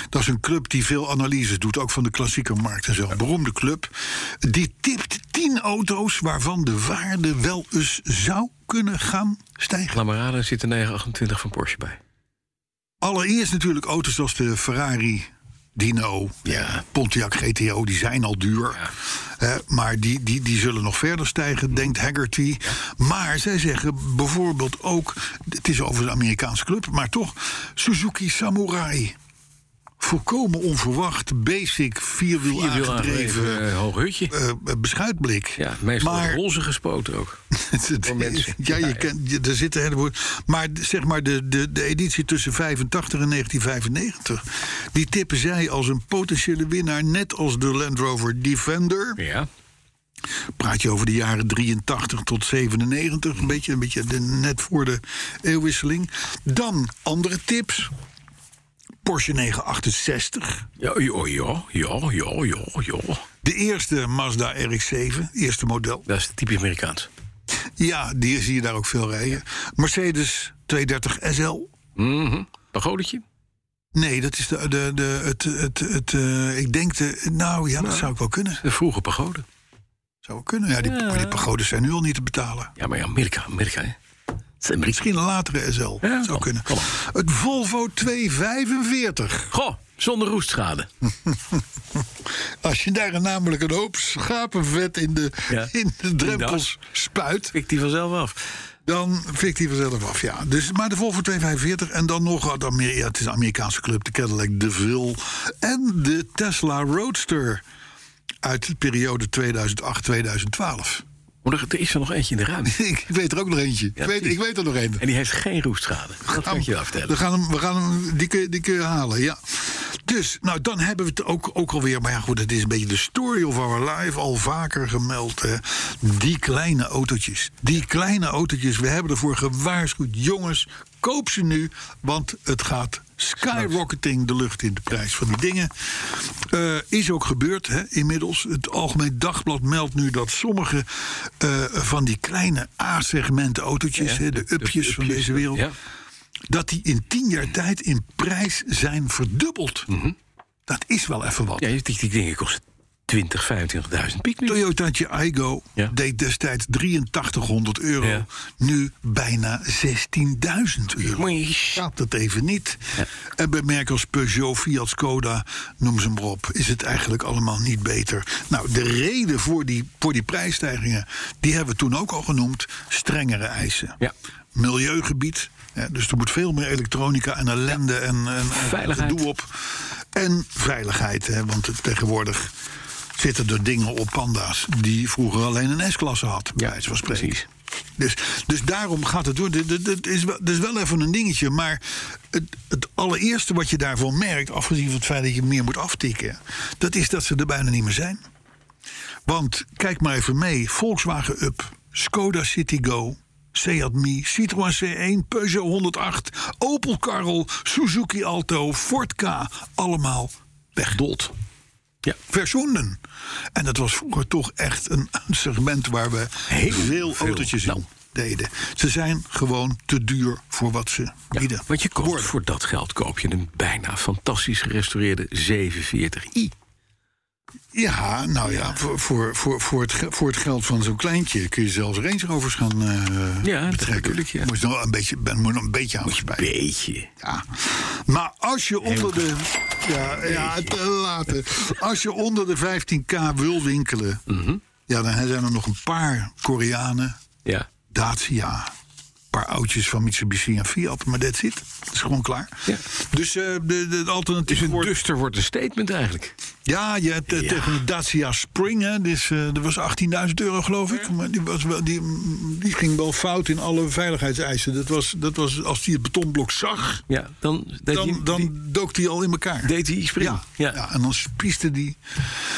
Dat is een club die veel analyses doet, ook van de klassieke markt en zo. Een beroemde club. Die tipt 10 auto's waarvan de waarde wel eens zou kunnen gaan stijgen. Laat maar raden, er zit een 928 van Porsche bij. Allereerst natuurlijk auto's zoals de Ferrari Dino, Ja. Pontiac GTO, die zijn al duur. Hè, maar die, die, die zullen nog verder stijgen, denkt Haggerty. Maar zij zeggen bijvoorbeeld ook, het is over een Amerikaanse club, maar toch Suzuki Samurai. Volkomen onverwacht, basic, vierwiel Hier wil aangedreven een hoog hutje. eh, beschuitblik. Ja, meestal Maar- roze gespoten ook. het- het- Voor mensen. Ja, je Ja, ja. kent, je- er zitten een heleboel. Maar d- zeg maar, de, de, de editie tussen 85 en 1995. Die tippen zij als een potentiële winnaar. Net als de Land Rover Defender. Ja. Praat je over de jaren 83 tot 97. Een beetje, een beetje de, net voor de eeuwwisseling. Dan andere tips. Porsche 968. Ja, ja, ja, ja, ja, ja, ja. De eerste Mazda RX-7. Eerste model. Dat is typisch Amerikaans. Ja, die zie je daar ook veel rijden. Mercedes 230 SL. Mhm. Pagodetje? Nee, dat is de, de, de, het, het, het, eh, ik denk de, nou ja, dat zou ik wel kunnen. De vroege pagode. Zou kunnen. Ja, die, maar die pagodes zijn nu al niet te betalen. Ja, maar ja, Amerika, Amerika, hè. Het is Amerika. Misschien een latere SL. Ja, zou kan, kunnen. kan. Het Volvo 245. Goh, zonder roestschade. Als je daar namelijk een hoop schapenvet in de, Ja, in de in drempels das. spuit, Pik die vanzelf af. dan fikt hij vanzelf af. Ja. Dus, maar de Volvo 245 en dan nog het, Amer- ja, het is een Amerikaanse club, de Cadillac DeVille en de Tesla Roadster uit de periode 2008-2012. Maar er, er is er nog eentje in de ruimte. (laughs) Ik weet er ook nog eentje. ik, weet, precies. ik weet er nog een. En die heeft geen roestschade. Dat kan ik je wel vertellen. We gaan hem, we gaan hem die, kun je, die kun je halen, ja. Dus, nou, dan hebben we het ook, ook alweer. Maar ja, goed, het is een beetje de story of our life. Al vaker gemeld. Hè. Die kleine autootjes. Die kleine autootjes. We hebben ervoor gewaarschuwd. Jongens, koop ze nu. Want het gaat skyrocketing de lucht in de prijs van die dingen. Eh, is ook gebeurd hè, inmiddels. Het Algemeen Dagblad meldt nu dat sommige eh, van die kleine A-segment autootjes, hè, de, upjes van deze wereld, Ja. dat die in tien jaar tijd in prijs zijn verdubbeld. Dat is wel even wat. Mhm. Ja, die, die die dingen kosten 20, 25.000 piek nu. Toyotaatje Igo Ja. deed destijds 8300 euro. Ja. Nu bijna 16.000 euro. Moeies. Snap dat even niet. En bij merken als Peugeot, Fiat, Skoda, noem ze maar op... is het eigenlijk allemaal niet beter. Nou, de reden voor die, voor die prijsstijgingen... die hebben we toen ook al genoemd. Strengere eisen. Ja. Milieugebied. hè, dus er moet veel meer elektronica en ellende en, en, en Veiligheid. gedoe op. En veiligheid, hè, want het- tegenwoordig zitten er dingen op panda's... die vroeger alleen een S-klasse had, bij Ja, wijze van spreken. precies. Dus, dus daarom gaat het door. Dit- dit- dit is wel, dit is wel even een dingetje. Maar het, het allereerste wat je daarvan merkt, afgezien van het feit dat je meer moet aftikken, dat is dat ze er bijna niet meer zijn. Want kijk maar even mee: Volkswagen Up, Skoda Citigo. Seat Mii, Citroën C1, Peugeot 108, Opel Karl, Suzuki Alto, Ford K. Allemaal wegdold. Ja. Verzoenden. En dat was vroeger toch echt een (laughs) segment waar we heel veel veel. autootjes in Nou. deden. Ze zijn gewoon te duur voor wat ze bieden. Want je koopt Worden. voor dat geld koop je een bijna fantastisch gerestaureerde 740i. Ja, nou ja, voor, voor, voor, voor, het, ge- voor het geld van zo'n kleintje kun je zelfs Range Rovers gaan eh Ja, dat betrekken. bedoel ik, ja. Moet je nog een beetje, ben, moet je nog een beetje aan spijt. Beetje. Ja. Maar als je onder de. Ja, ja te laten. Als je onder de 15k wil winkelen. Ja, dan zijn er nog een paar Koreanen, Ja. Dacia. Een paar oudjes van Mitsubishi en Fiat. Maar that's it. Dat is gewoon klaar. Ja. Dus eh, de, de, het alternatief Dus een wordt- duster wordt een statement eigenlijk. ja, je hebt eh, Ja. tegen de Dacia Spring. Hè, dus, eh, dat was 18.000 euro, geloof ik. Maar die, was wel, die, die ging wel fout in alle veiligheidseisen. Dat was, dat was als hij het betonblok zag, Ja, dan deed, dan, hij, die- dan dook hij al in elkaar. deed hij spring. ja, ja. en dan spieste die.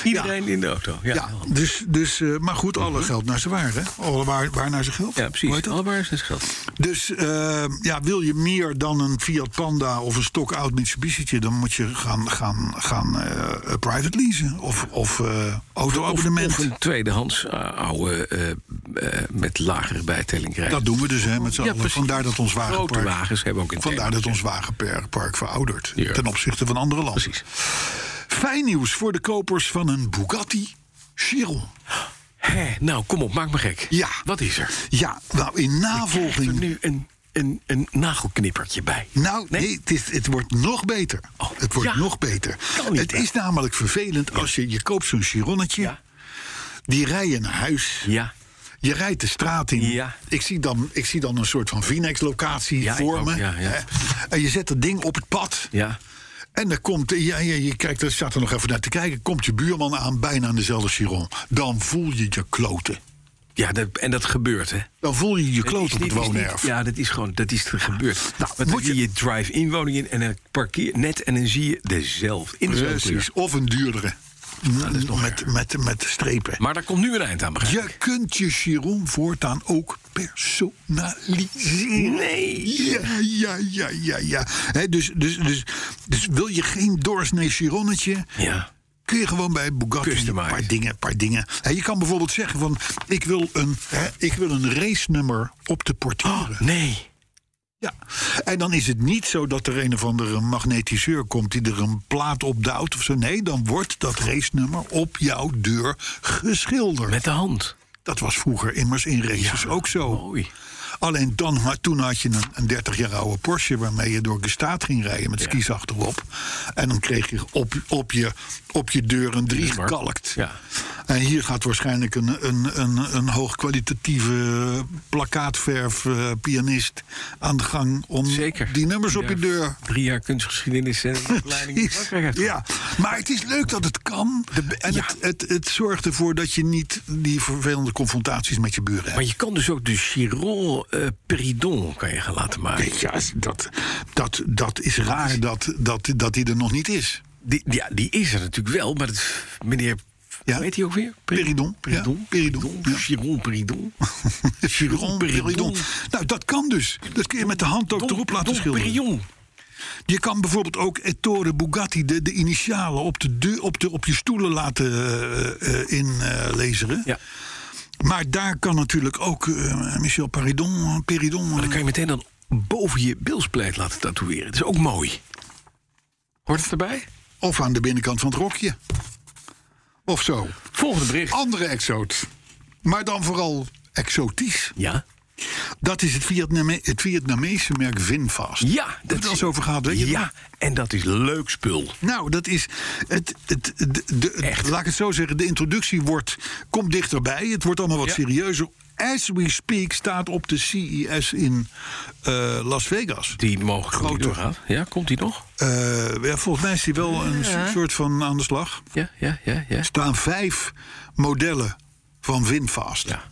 Iedereen in de auto. Ja, Mhm. Ja, dus, dus, eh, maar goed, alle geld naar zijn waar, hè? Alle waar, waar naar zijn geld. ja Hoe precies. heet dat? Allemaal is het geld. Dus eh, ja, wil je meer dan een Fiat Panda of een stokoud Mitsubishi'tje... dan moet je gaan, gaan, gaan eh, private leasen of, of eh Of, autoabonnement. of een tweedehands eh, oude eh, eh, met lagere bijtelling krijgen. Dat doen we dus hè, met z'n Ja, allen. precies. Vandaar dat ons Grote wagenpark, wagens hebben ook een vandaar thema. dat ons wagenpark veroudert. Ja. Ten opzichte van andere landen. Precies. Fijn nieuws voor de kopers van een Bugatti Chiron. Hé, nou, kom op, maak me gek. Ja. Wat is er? Ja, nou in Volgende navolging... nu een, een, een nagelknippertje bij. Nou, nee, het, is, het wordt nog beter. Oh, het wordt ja. nog beter. Kan niet, Het hè? is namelijk vervelend als je, je koopt zo'n chironnetje. Ja. Die rij je naar huis. Ja. Je rijdt de straat in. Ja. Ik, zie dan, ik zie dan een soort van Vinex-locatie Ja, ik voor ook, me. ja, ja. hè. En je zet het ding op het pad. Ja. En dan komt, ja, ja, je kijkt, er staat er nog even naar te kijken. Komt je buurman aan, bijna aan dezelfde chiron. Dan voel je je kloten. Ja, dat, en dat gebeurt, hè? Dan voel je je Kloot kloten op het woonerf. Ja, dat is gewoon, dat is er gebeurd. Nou, Want dan moet je- zie je drive-in woning in en een parkeernet en dan zie je dezelfde. In dezelfde kleur. Precies. Of een duurdere. Nou, met, met, met strepen. Maar daar komt nu een eind aan, begrijp Je ik. kunt je Chiron voortaan ook personaliseren. Nee. Ja, ja, ja, ja, ja. Hè, dus, dus, dus, dus wil je geen doorsnee Chironnetje... Ja. kun je gewoon bij Bugatti een Customize. paar dingen, een paar dingen. Hè, je kan bijvoorbeeld zeggen Oh. van... ik wil een, hè, ik wil een race nummer op de portieren. Nee. Ja, en dan is het niet zo dat er een of andere magnetiseur komt die er een plaat op duwt of zo. Nee, dan wordt dat racenummer op jouw deur geschilderd. Met de hand. Dat was vroeger immers in races ook zo. Mooi. Alleen dan, maar toen had je een, een 30 jaar oude Porsche waarmee je door gestaat ging rijden met skis achterop. En dan kreeg je op, op, je, op je deur een 3 Diesmark. gekalkt. Ja. En hier gaat waarschijnlijk een, een, een, een hoogkwalitatieve plakkaatverfpianist pianist aan de gang om Zeker. die nummers op je deur. Drie jaar kunstgeschiedenis en opleiding in Precies. Frankrijk heeft Ja, maar het is leuk dat het kan. De- en het, het, het zorgt ervoor dat je niet die vervelende confrontaties met je buren hebt. Maar je kan dus ook de Chiron eh Peridon kan je gaan laten maken. Ja, dat, dat, dat is raar dat, dat, dat die er nog niet is. Die, die- ja, die is er natuurlijk wel, maar dat, meneer... Ja. Hoe heet hij ook weer? Peridon, ja, Peridon, ja. (laughs) Chiron Peridon. Chiron, Peridon. Nou, dat kan dus. Dat kun je met de hand ook erop laten schilderen. Perion. Je kan bijvoorbeeld ook Ettore Bugatti, de, de initialen, op, de deur, op, de, op je stoelen laten eh, inlezeren. Ja. Maar daar kan natuurlijk ook eh, Michel Peridon... Peridon Maar dan kan je meteen dan boven je bilspleit laten tatoeëren. Dat is ook mooi. Hoort het erbij? eh, Of aan de binnenkant van het rokje. Of zo. Volgende bericht. Andere exoot. Maar dan vooral exotisch. Ja. Dat is het, Vietname het Vietnamese merk Vinfast. Ja. Hebben we het wel eens over gehad, weet je? Ja, en dat is leuk spul. Nou, dat is. Het, het, de, de- Laat ik het zo zeggen. De introductie wordt, komt dichterbij. Het wordt allemaal wat Ja. serieuzer. As we speak staat op de CES in eh, Las Vegas. Die mogelijk niet Groter. doorgaat. Ja, komt die nog? Eh, ja, volgens mij is die wel een soort van aan de slag. Ja, ja, ja, ja. Er staan vijf modellen van Winfast. Ja.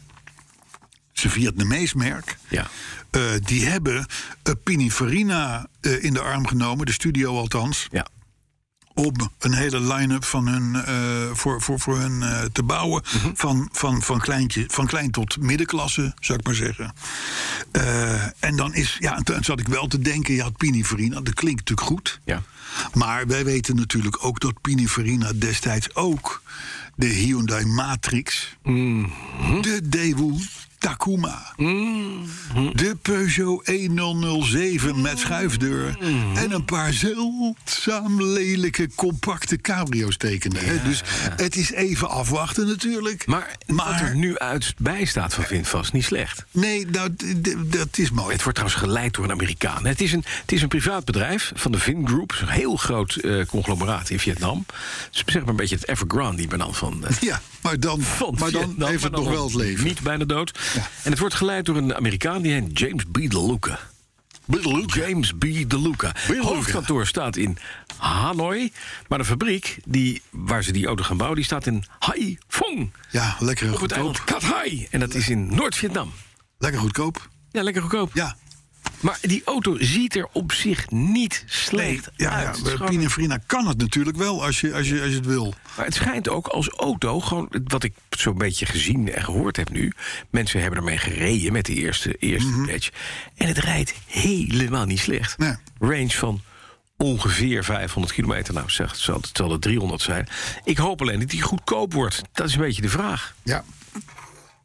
Het is een Vietnamees merk. Ja. Eh, die hebben eh, Pininfarina eh, in de arm genomen, de studio althans, Ja. om een hele line-up van hun eh, voor, voor, voor hun eh, te bouwen. van, van, van, kleintje, van klein tot middenklasse, zou ik maar zeggen. Eh, en dan is, ja, en toen zat ik wel te denken, ja, Pininfarina, dat klinkt natuurlijk goed. Ja. Maar wij weten natuurlijk ook dat Pininfarina destijds ook de Hyundai Matrix, Mhm. de Daewoo Takuma, Mhm. de Peugeot E 1007 met schuifdeur Mhm. en een paar zeldzaam lelijke compacte cabrio's tekende. hè. Dus het is even afwachten natuurlijk. Maar, wat er nu uit bij staat van Vinfast, niet slecht. nee, nou, d- d- dat is mooi. Het wordt trouwens geleid door een Amerikaan. Het is een, het is een privaat bedrijf van de Vin Group. Een heel groot eh, conglomeraat in Vietnam. Het is zeg maar een beetje het Evergrande banaan van... eh, (laughs) Ja, maar dan, van maar dan Vietnam, heeft het nou maar dan nog wel het leven. Niet bijna dood. En het wordt geleid door een Amerikaan die heet James B. DeLuca. James B. DeLuca. Het hoofdkantoor staat in Hanoi. Maar de fabriek die, waar ze die auto gaan bouwen, die staat in Hai Phong. Ja, lekker Op het eiland goedkoop. Cat Hai. En dat is in Noord-Vietnam. Lekker goedkoop. Ja, lekker goedkoop. Ja, Maar die auto ziet er op zich niet slecht Ja, uit. ja, Het is bij gewoon- Pininfarina kan het natuurlijk wel als je, als je, als je het wil. Maar het schijnt ook als auto, gewoon wat ik zo'n beetje gezien en gehoord heb nu. Mensen hebben ermee gereden met de eerste, eerste patch. En het rijdt helemaal niet slecht. Mhm. Nee. Range van ongeveer 500 kilometer. Nou, zeg, het zal, het zal er 300 zijn. Ik hoop alleen dat die goedkoop wordt. Dat is een beetje de vraag. Ja.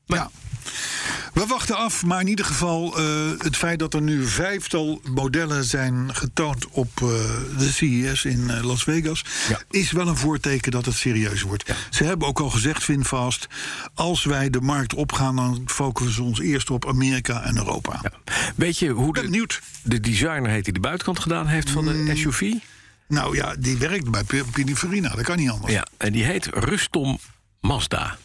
ja. We wachten af, maar in ieder geval eh, het feit dat er nu vijftal modellen zijn getoond op eh, de CES in eh, Las Vegas, Ja. is wel een voorteken dat het serieus wordt. Ze hebben ook al gezegd, Vinfast, als wij de markt opgaan, dan focussen we ons eerst op Amerika en Europa. Ja. Weet je hoe ben de, benieuwd. Mm. de designer heet die de buitenkant gedaan heeft van de SUV? Nou ja, die werkt bij P- Pininfarina, dat kan niet anders. Ja, en die heet Rustom Mazda.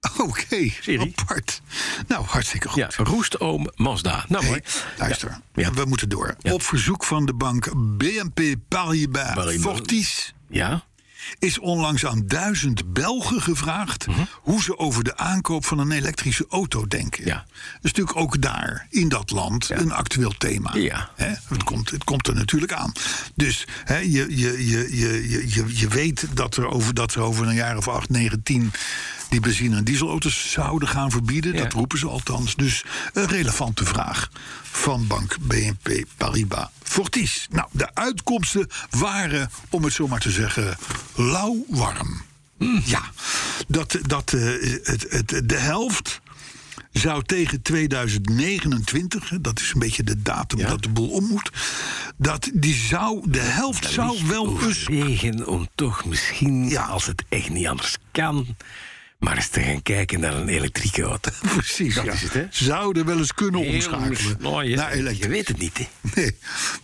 (laughs) Oké, Serie. apart. Nou, hartstikke goed. Ja, Roestoom Mazda. Nou, mooi. Hey, luister, Ja. Ja. we moeten door. Ja. Op verzoek van de bank BNP Paribas, Paribas. Fortis Ja? is onlangs aan duizend Belgen gevraagd... Mhm. hoe ze over de aankoop van een elektrische auto denken. Ja. Dat is natuurlijk ook daar, in dat land, een actueel thema. Ja. Hè, het, komt, het komt er natuurlijk aan. Dus hè, je, je, je, je, je, je, je weet dat er, over, dat er over een jaar of acht, negen, tien... die benzine- en dieselauto's zouden gaan verbieden. Ja. Dat roepen ze althans. Dus een relevante vraag van bank BNP Paribas Fortis. Nou, de uitkomsten waren, om het zo maar te zeggen, (laughs) lauw-warm. Ja, dat, dat eh, het, het, de helft zou tegen 2029, hè, dat is een beetje de datum dat de boel om moet, dat die zou, de helft zou wel eens Wegen om toch misschien, Ja. als het echt niet anders kan... maar eens te gaan kijken naar een elektrische auto. (laughs) Precies, Dat ja. is het, hè? Zouden wel eens kunnen Heel omschakelen moeilijk. Nou, je, naar je elektrisch. weet het niet, hè. (laughs) Nee.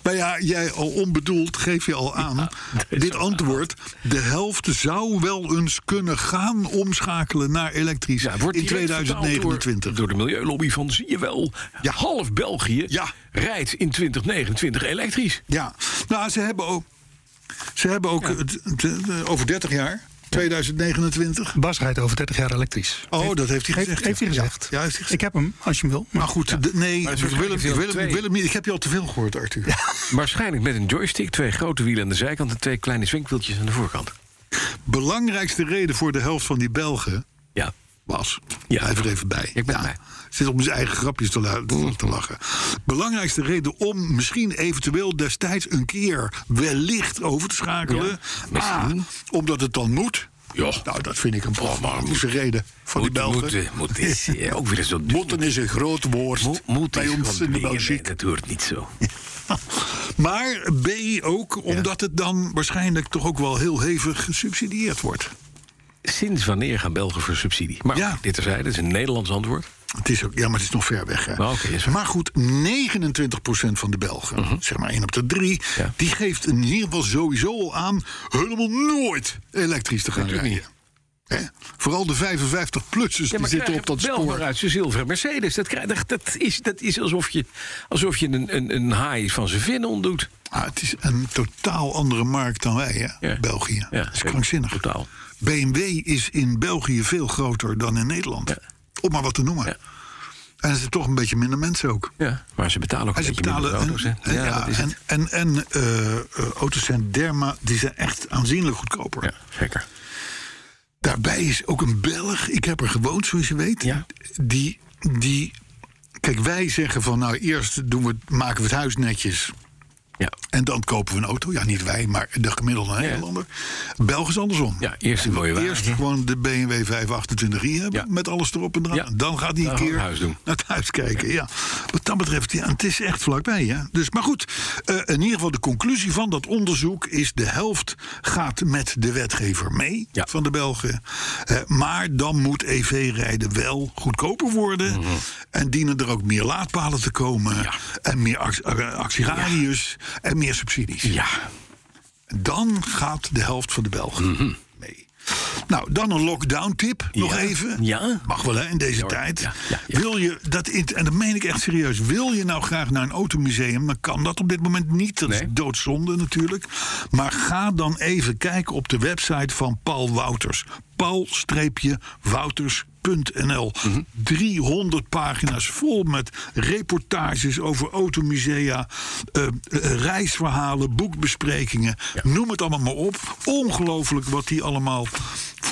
Maar ja, jij al onbedoeld geef je al aan. dit antwoord, de helft zou wel eens kunnen gaan omschakelen naar elektrisch Ja, het wordt in direct vertaald 2029. Door, door de milieulobby van zie je wel, Ja. half België Ja. rijdt in 2029 elektrisch. Ja, nou, ze hebben ook, ze hebben ook het- het- het- over 30 jaar, 2029. Bas rijdt over 30 jaar elektrisch. Oh, dat heeft hij Heeft, gezegd. heeft hij ja. gezegd. Ja, heeft hij gezegd. Ik heb hem, als je hem wil. maar goed, de- nee, Maar het is Willem, waarschijnlijk Willem, veel Willem, ik heb je al te veel gehoord, Arthur. Waarschijnlijk met een joystick, twee grote wielen aan de zijkant... en twee kleine zwinkwieltjes aan de voorkant. Belangrijkste reden voor de helft van die Belgen Ja, Bas, Ja. blijf er even bij. Ik ben erbij. Zit om zijn eigen grapjes te, lu- te lachen. Belangrijkste reden om misschien eventueel destijds een keer wellicht over te schakelen. Ja, misschien. A, omdat het dan moet. Ja. Nou, dat vind ik een maar prachtige reden van moet, die Belgen. moet, eh, moet is eh, ook weer zo duur. Moeten is een groot woord Mo- moet bij is ons gewoon in de dwingen, België. nee, Dat hoort niet zo. (laughs) Maar B ook omdat het dan waarschijnlijk toch ook wel heel hevig gesubsidieerd wordt. Sinds wanneer gaan Belgen voor subsidie? Maar Ja. dit terzijde, dat is een Nederlands antwoord. Het is ook, ja, maar het is nog ver weg. Hè. Nou, oké, is waar. Mhm. maar goed, 29% van de Belgen, zeg maar 1 op de 3, Ja. die geeft in ieder geval sowieso al aan helemaal nooit elektrisch te gaan Natuurlijk rijden. Hè? Vooral de 55-plussers die zitten op dat wel spoor. uit zijn zilveren Mercedes. Dat, krijg, dat, dat is, dat is alsof je, alsof je een, een, een haai van zijn vinnen ontdoet. Ah, het is een totaal andere markt dan wij, hè? Ja. België. Ja, dat is zeker. krankzinnig. Totaal. BMW is in België veel groter dan in Nederland. Ja. Om maar wat te noemen. Ja. En er zitten toch een beetje minder mensen ook. Ja, maar ze betalen ook En een ze beetje minder betalen. voor auto's. hè. en, ja, ja, dat is en, het. en, en, eh, eh, auto's zijn derma, die zijn echt aanzienlijk goedkoper. Ja, zeker. Daarbij is ook een Belg, ik heb er gewoond, zoals je weet, Ja. die, die. Kijk, wij zeggen van nou eerst doen we, het- maken we het huis netjes. Ja. En dan kopen we een auto. Ja, niet wij, maar de gemiddelde Nederlander. Belg is andersom. ja, eerst een mooie wagen. Eerst gewoon de BMW 528i hebben, Ja. met alles erop en eraan. Ja. Dan gaat hij een Dan gaan we keer het huis doen. naar het huis kijken. Ja. Wat dat betreft, ja, het is echt vlakbij. Ja. Dus, maar goed, eh, in ieder geval de conclusie van dat onderzoek is... de helft gaat met de wetgever mee Ja. van de Belgen. Eh, maar dan moet EV-rijden wel goedkoper worden. En dienen er ook meer laadpalen te komen. Mhm. Ja. En meer ac- eh, actieradius en meer subsidies. Ja, Dan gaat de helft van de Belgen mee. Nou, dan een lockdown-tip nog Mhm. Ja. even. Ja. Mag wel, hè, in deze hoor. tijd. Ja, ja, ja. Wil je dat in, en dat meen ik echt serieus. Wil je nou graag naar een automuseum? Dan kan dat op dit moment niet. Dat is Nee. doodzonde natuurlijk. Maar ga dan even kijken op de website van Paul Wouters. Paul-Wouters.nl. 300 pagina's vol met reportages over automusea, eh, eh, reisverhalen, boekbesprekingen. Noem het allemaal maar op. Ongelooflijk wat die allemaal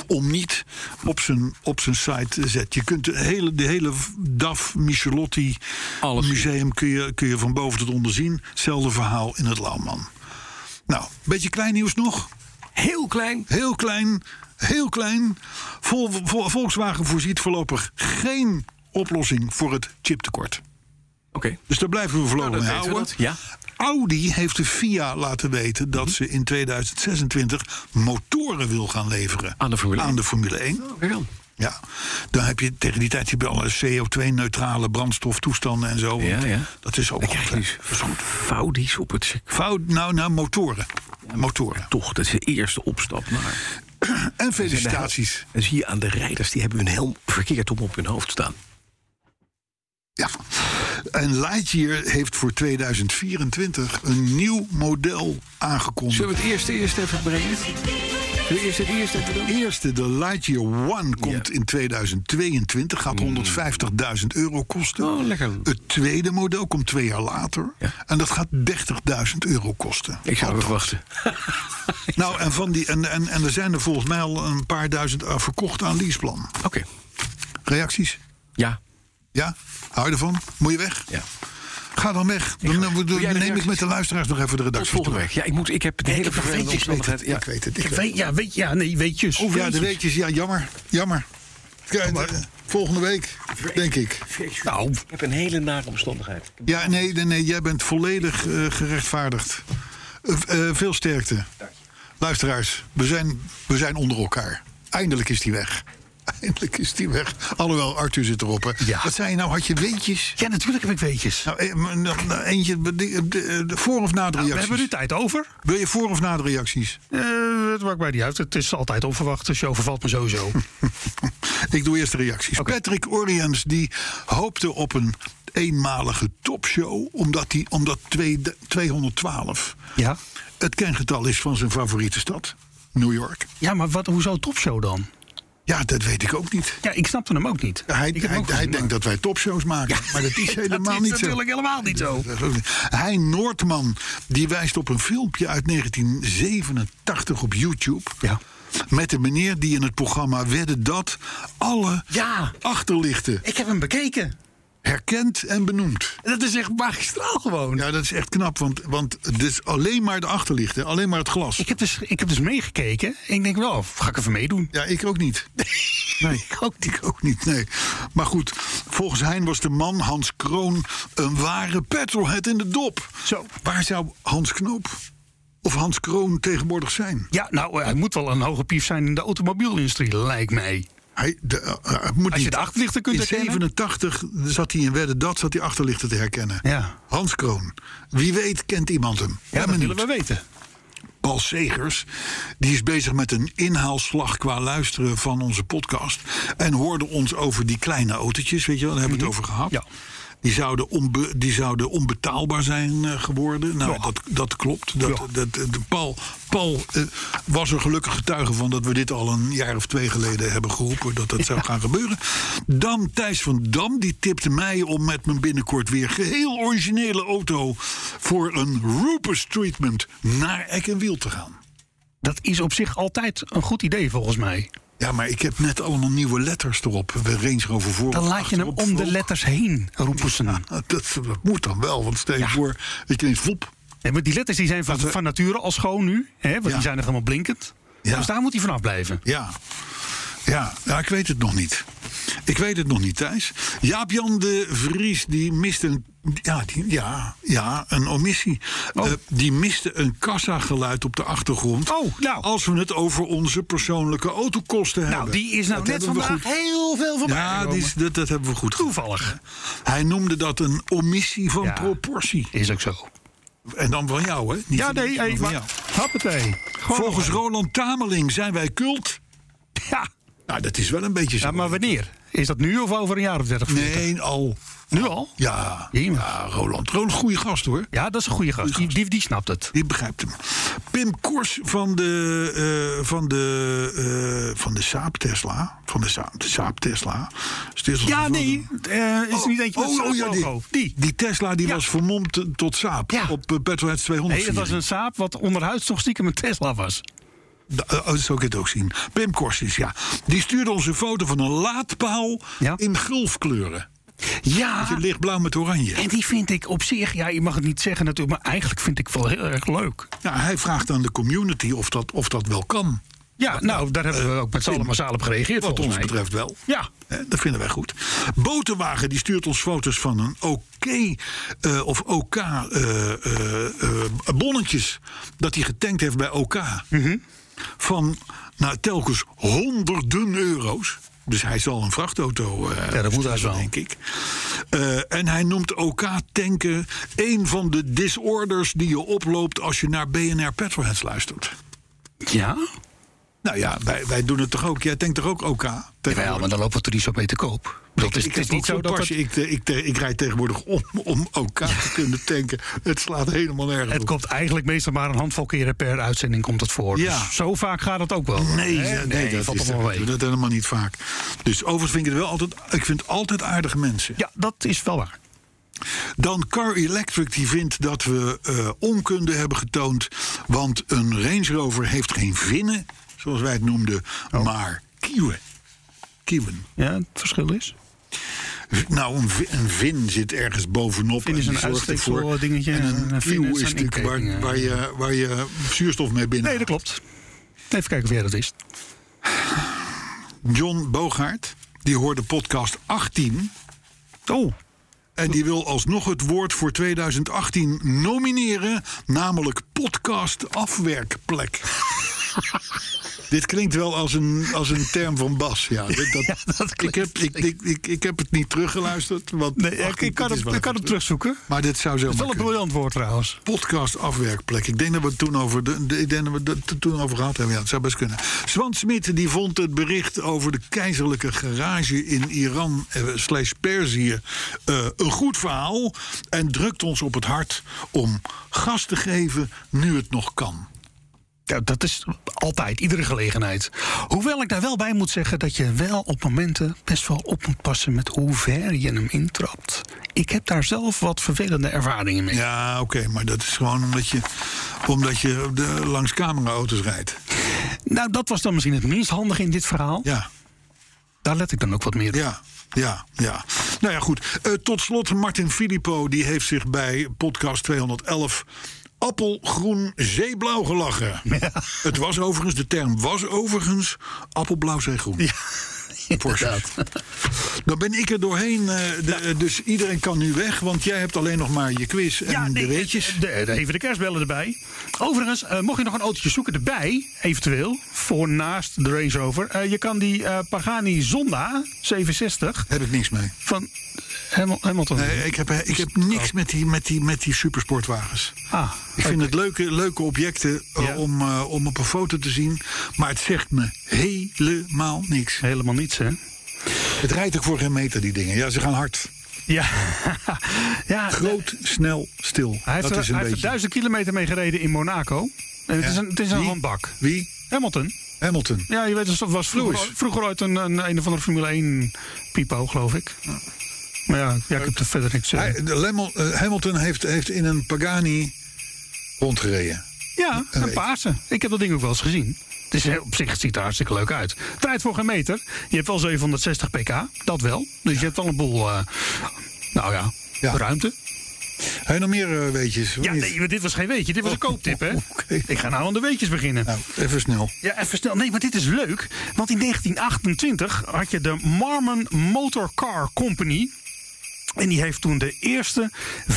om niet op zijn, op zijn site zet. Je kunt de hele, de hele DAF Michelotti Alles zien. museum kun je, kun je van boven tot onder zien. Hetzelfde verhaal in het Lauwman. Nou, beetje klein nieuws nog. heel klein. Heel klein, heel klein. Vol, vol- Volkswagen voorziet voorlopig geen oplossing voor het chiptekort. Oké. Dus daar blijven we voorlopig Nou, dat mee weten we houden. dat, Mhm. Audi heeft de FIA laten weten dat ze in 2026 motoren wil gaan leveren. Aan de Formule aan 1. de Formule 1. Oké dan. Ja, dan heb je tegen die tijd heb je al CO2-neutrale brandstoftoestanden en zo. Ja, Want ja. Dat is ook Dan krijg je goed, dus hè. Dat is goed. foutjes op het circuit. Fout, nou, nou, motoren. Motoren. Toch, dat is de eerste opstap naar. En felicitaties. Dan zie je aan de rijders, die hebben hun helm verkeerd om op hun hoofd staan. Ja. En Lightyear heeft voor 2024 een nieuw model aangekondigd. Zullen we het eerste eerst even brengen? Zullen we eerst het eerste even doen? De eerste, de Lightyear One, komt Ja. Mm. in 2022. Gaat 150.000 euro kosten. Oh, lekker. Het tweede model komt twee jaar later. Ja. En dat gaat 30.000 euro kosten. Ik zou even wachten. Nou, en, van die, en, en, en er zijn er volgens mij al een paar duizend eh, verkocht aan leaseplan. Oké. Reacties? Ja. Ja? Hou je ervan? Moet je weg? ja. Ga dan weg. Dan, dan- dan Doe jij de neem ik met de reacties? luisteraars nog even de Tot redactie. volgende week. Ja, ik, moet, ik heb een hele heb nog vervelende weetjes, weet omstandigheid. het. Ik weet het. Ik weet ja, Oh, weet, ja, nee, weetjes. toe. Ja, de weetjes. Ja, jammer. Jammer. Kijk, eh, Volgende week. denk ik. Nou, Ik heb een hele nare omstandigheid. ja, nee, nee, nee jij bent volledig eh, gerechtvaardigd. Eh, eh, veel sterkte. Luisteraars, we zijn, we zijn onder elkaar. Eindelijk is die weg. (laughs) Eindelijk is die weg. Alhoewel, Arthur zit erop. Hè. Ja. Wat zei je nou? Had je weetjes? Ja, natuurlijk heb ik weetjes. Nou, eh, maar, nou, nou, eentje be- die- eh, de- de voor of na de Nou, we hebben nu reacties. tijd over. Wil je voor of na de reacties? Eh het maakt mij niet uit. Het is altijd onverwacht. De show vervalt me (laughs) sowieso. Ik doe eerst de reacties. Patrick Oriens die hoopte op een eenmalige topshow... omdat, die, omdat twee- 212 ja. het kengetal is van zijn favoriete stad, New York. ja, maar wat, hoezo topshow dan? Ja, dat weet ik ook niet. Ja, ik snapte hem ook niet. Hij, ik hij, heb hem ook hij gezien, denkt maar- dat wij topshows maken, maar dat is (laughs) dat helemaal is niet zo. natuurlijk helemaal niet zo. Dat is ook niet. Hij Noordman die wijst op een filmpje uit 1987 op YouTube. Ja. Met een meneer die in het programma wedde dat alle Ja. achterlichten Ik heb hem bekeken. herkent en benoemd. Dat is echt magistraal gewoon. Ja, dat is echt knap, want, want het is alleen maar de achterlichten, alleen maar het glas. Ik heb, dus, ik heb dus meegekeken. En ik denk wel, ga ik even meedoen? Ja, ik ook (laughs) niet. Nee, ik ook, ik ook niet, nee. Maar goed, volgens Hein was de man, Hans Kroon, een ware petrolhead in de dop. Zo. Waar zou Hans Knoop of Hans Kroon tegenwoordig zijn? Ja, nou, eh, hij moet wel een hoge pief zijn in de automobielindustrie, lijkt mij. Hij, de, eh, het moet Als je niet- de achterlichten kunt In herkennen. 87 zat hij in Wedden Dat, zat hij achterlichten te herkennen. Ja. Hans Kroon. Wie weet kent iemand hem. Ja, Ben dat benieuwd. willen we weten. Paul Segers, die is bezig met een inhaalslag qua luisteren van onze podcast. En hoorde ons over die kleine autootjes, weet je wel, daar hebben we het over gehad. Ja. Die, zouden onbe- die zouden onbetaalbaar zijn eh, geworden. Nou, dat, dat klopt. Dat, Ja. dat, eh, de Paul, Paul eh, was er gelukkig getuige van dat we dit al een jaar of twee geleden hebben geroepen. Dat dat zou gaan gebeuren. Dan Thijs van Dam, die tipte mij om met mijn binnenkort weer geheel originele auto. voor een Rupert treatment naar Eck en Wiel te gaan. Dat is op zich altijd een goed idee, volgens mij. Ja, maar ik heb net allemaal nieuwe letters erop. We Range Rover voor. Dan laat je hem achterop, om de voor- letters heen roepen ze. hem. Dat, dat moet dan wel, want stel je voor dat je ineens vlop. Nee, maar die letters die zijn van, Dat we- van nature al schoon nu. Hè, want Ja. die zijn nog helemaal blinkend. Ja. Dus daar moet hij vanaf blijven. Ja. Ja, nou, ik weet het nog niet. Ik weet het nog niet, Thijs. Jaap-Jan de Vries, die miste een... Ja, die, ja, ja een omissie. Eh, die miste een kassageluid op de achtergrond. Oh, nou. Als we het over onze persoonlijke autokosten Nou, hebben. die is nou Dat net hebben we vandaag goed- heel veel voorbij Ja, gekomen. die is, dat, dat hebben we goed. Toevallig. Hij noemde dat een omissie van Ja. proportie. Is ook zo. En dan van jou, hè? Niet ja, van nee, ons, hey, van maar... Oh. jou. Hoppatee. Gewoon Volgens nog Roland Tameling zijn wij cult. een. Ja. Nou, dat is wel een beetje zo. ja, maar wanneer? Is dat nu of over een jaar of dertig? Nee, al. Nu al? Ja, Jemig. ja Roland. Roland, goede gast hoor. Ja, dat is een goede gast. Die, die, die snapt het. Die begrijpt hem. Pim Kors van de, eh van de, eh, van de Saab Tesla. Van de Saab, de Saab Tesla. Dus het is als Ja, een- nee. eh, is er niet eentje met Oh, een oh, ja, logo? die, Die. die Tesla die Ja. was vermomd eh, tot Saab. Ja. Op uh, Petroheads 200. Nee, dat was een saap wat onderhuids toch stiekem een Tesla was. Da- eh, oh, zo kan je het ook zien. Pim Korsis, ja. Die stuurde ons een foto van een laadpaal Ja. in gulfkleuren. Ja, Beetje lichtblauw met oranje. en die vind ik op zich... Ja, je mag het niet zeggen natuurlijk, maar eigenlijk vind ik wel heel erg leuk. Nou, hij vraagt aan de community of dat, of dat wel kan. Ja, nou, daar hebben we ook met z'n allen massaal op gereageerd, Wat volgens ons mij. betreft wel. Ja. Eh, Dat vinden wij goed. Botenwagen die stuurt ons foto's van een OK eh, of OK eh, eh, eh, bonnetjes dat hij getankt heeft bij OK. Mhm. Van nou, telkens honderden euro's. Dus hij zal een vrachtauto eh dat moet besturen, hij wel. denk ik. Eh, en hij noemt OK tanken een van de disorders die je oploopt als je naar BNR Petrolheads luistert. Ja? Nou ja, wij, wij doen het toch ook. Jij denkt toch ook OK? Jawel, maar dan lopen we er niet zo mee te koop. Dat is, ik het is heb niet ook zo zo'n dat pasje. het, Ik, eh, ik, eh, ik rijd tegenwoordig om, om OK te kunnen tanken. Het slaat helemaal nergens het op. komt eigenlijk meestal maar een handvol keren per uitzending komt het voor. Ja. Dus zo vaak gaat het ook wel. Nee, Hè? nee, dat valt is toch wel mee. ik doe dat helemaal niet vaak. Dus overigens vind ik het wel altijd... Ik vind altijd aardige mensen. Ja, dat is wel waar. Dan Car Electric die vindt dat we eh, onkunde hebben getoond. Want een Range Rover heeft geen vinnen, zoals wij het noemden. Oh. Maar kieuwen. Kieuwen. Ja, het verschil is. Nou, een, vi- een vin zit ergens bovenop. Vin is en die een zorgt ervoor. uitsteeksel, dingetje, En en een een vin kieuw is is een natuurlijk waar, inkeping, waar, je, waar je zuurstof mee binnen. Nee, dat klopt. Even kijken of jij dat is. John Boogaard die hoorde podcast 18. Oh, En die wil alsnog het woord voor 2018 nomineren, namelijk podcast afwerkplek. (laughs) Dit klinkt wel als een, als een term van Bas. (laughs) Ja, Dit- dat, ik, heb, ik, ik, ik, ik heb het niet teruggeluisterd. Want nee, ik, 18 ik kan is het, wel ik kan even het terug. terugzoeken. Maar dit zou zo Dat is wel een kunnen. briljant woord trouwens. Podcast afwerkplek. Ik denk dat we het toen over, de, de- ik denk dat we het er toen over gehad hebben. Ja, het zou best kunnen. Swan Smit die vond het bericht over de keizerlijke garage in Iran eh, slash Perzië eh, een goed verhaal. En drukt ons op het hart om gas te geven nu het nog kan. Ja, dat is altijd, iedere gelegenheid. Hoewel ik daar wel bij moet zeggen dat je wel op momenten best wel op moet passen met hoe ver je hem intrapt. Ik heb daar zelf wat vervelende ervaringen mee. Ja, oké, maar dat is gewoon omdat je, omdat je eh, de, langs cameraauto's rijdt. Nou, dat was dan misschien het minst handige in dit verhaal. Ja. Daar let ik dan ook wat meer op. Ja, ja, ja. Nou ja, goed. Eh, tot slot, Martin Filippo die heeft zich bij podcast 211 appelgroen zeeblauw gelachen. Het was overigens, de term was overigens appelblauw zeegroen. Ja. Dan ben ik er doorheen, eh, de- Nou. dus iedereen kan nu weg, want jij hebt alleen nog maar je quiz en Ja, de nee, weetjes. de- de- even de kerstbellen erbij. Overigens, eh, mocht je nog een autootje zoeken erbij, eventueel, voor naast de Range Rover. eh, je kan die eh, Pagani Zonda 67 Heb ik niks mee. van Hamil- Hamilton. Nee, ik heb, eh, ik Oh. heb niks met die, met, die, met die supersportwagens. Ah, ik vind het leuke, leuke objecten eh, Ja. om, eh, om op een foto te zien. Maar het zegt me helemaal niks. Helemaal niets, hè? Het rijdt ook voor geen meter, die dingen. Ja, ze gaan hard. Ja. (laughs) ja Groot, snel, stil. Hij heeft, dat er, is hij een heeft er beetje. duizend kilometer mee gereden in Monaco. En het Ja. is een, het is een Wie? handbak. Wie? Hamilton. Hamilton. Ja, je weet het, dat was vroeger, Lewis. vroeger ooit een, een, een of andere Formule 1 pipo, geloof ik. Maar ja, ja ik heb er verder niks Hij- zeggen. de Lemmel- eh, Hamilton heeft, heeft in een Pagani rondgereden. Ja, een een week. paarse. Ik heb dat ding ook wel eens gezien. Het is, heel- op zich het ziet er hartstikke leuk uit. Het rijdt voor geen meter. Je hebt wel 760 pk, dat wel. Dus je hebt wel een boel, eh, nou ja, Ja. ruimte. Heb je nog meer eh, weetjes? of Ja, niet? Oh, nee, maar dit was geen weetje, dit was een kooptip, hè? Oké. Ik ga nou aan de weetjes beginnen. Nou, even snel. Ja, even snel. Nee, maar dit is leuk. Want in 1928 had je de Marmon Motor Car Company. En die heeft toen de eerste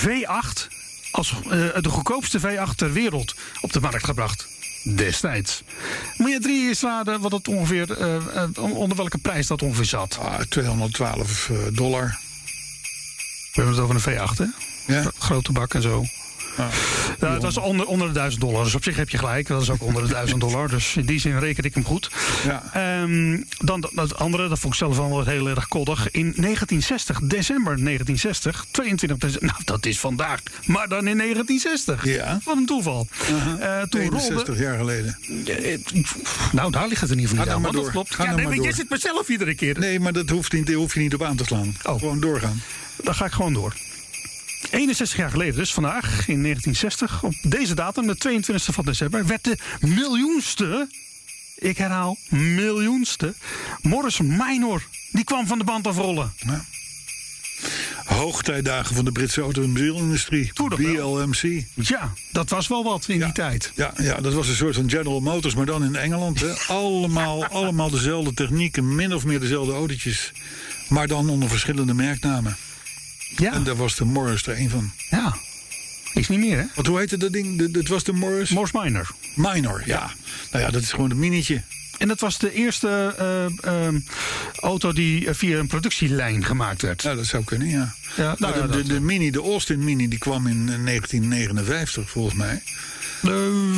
V8, als, eh, de goedkoopste V8 ter wereld, op de markt gebracht. Destijds. Moet je drie eens raden wat dat ongeveer, eh, eh, onder welke prijs dat ongeveer zat. Ah, 212 eh, dollar. We hebben het over een V8, hè? Ja. Grote bak en zo. Nou, het was onder, onder de 1000 dollar, dus op zich heb je gelijk. Dat is ook (laughs) onder de 1000 dollar, dus in die zin reken ik hem goed. Ja. Ehm, dan dat, dat andere, dat vond ik zelf al heel erg koddig. In 1960, december 1960, 22 december, (laughs) nou dat is vandaag, maar dan in 1960. Ja. Uh-huh. Wat een toeval. Eh, toen rolde... 61 jaar geleden. Nou, daar ligt het in ieder geval Ga niet nou aan, maar want door. dat klopt. ja, Ga nou nee, maar maar jij door. zit mezelf iedere keer. Nee, maar dat hoeft niet, daar hoef je niet op aan te slaan. Oh. Gewoon doorgaan. Dan ga ik gewoon door. 61 jaar geleden, dus vandaag in 1960, op deze datum, de 22e van december, werd de miljoenste, ik herhaal, miljoenste, Morris Minor. Die kwam van de band afrollen. Ja. Hoogtijdagen van de Britse automobielindustrie. Toen nog wel. BLMC. Ja, dat was wel wat in Ja. die tijd. Ja, ja, dat was een soort van General Motors, maar dan in Engeland. (laughs) Hè. Allemaal, allemaal dezelfde technieken, min of meer dezelfde autootjes. Maar dan onder verschillende merknamen. Ja, En daar was de Morris er een van. ja. Is niet meer, hè? Want hoe heette dat ding? De- Het was de Morris Morris Minor. Minor, ja. Nou ja, dat is gewoon een minietje. En dat was de eerste eh, ehm, auto die eh, via een productielijn gemaakt werd. Nou, dat zou kunnen, ja. Ja, Maar nou ja, de, de, dat- de Mini, de Austin Mini, die kwam in eh, 1959 volgens mij.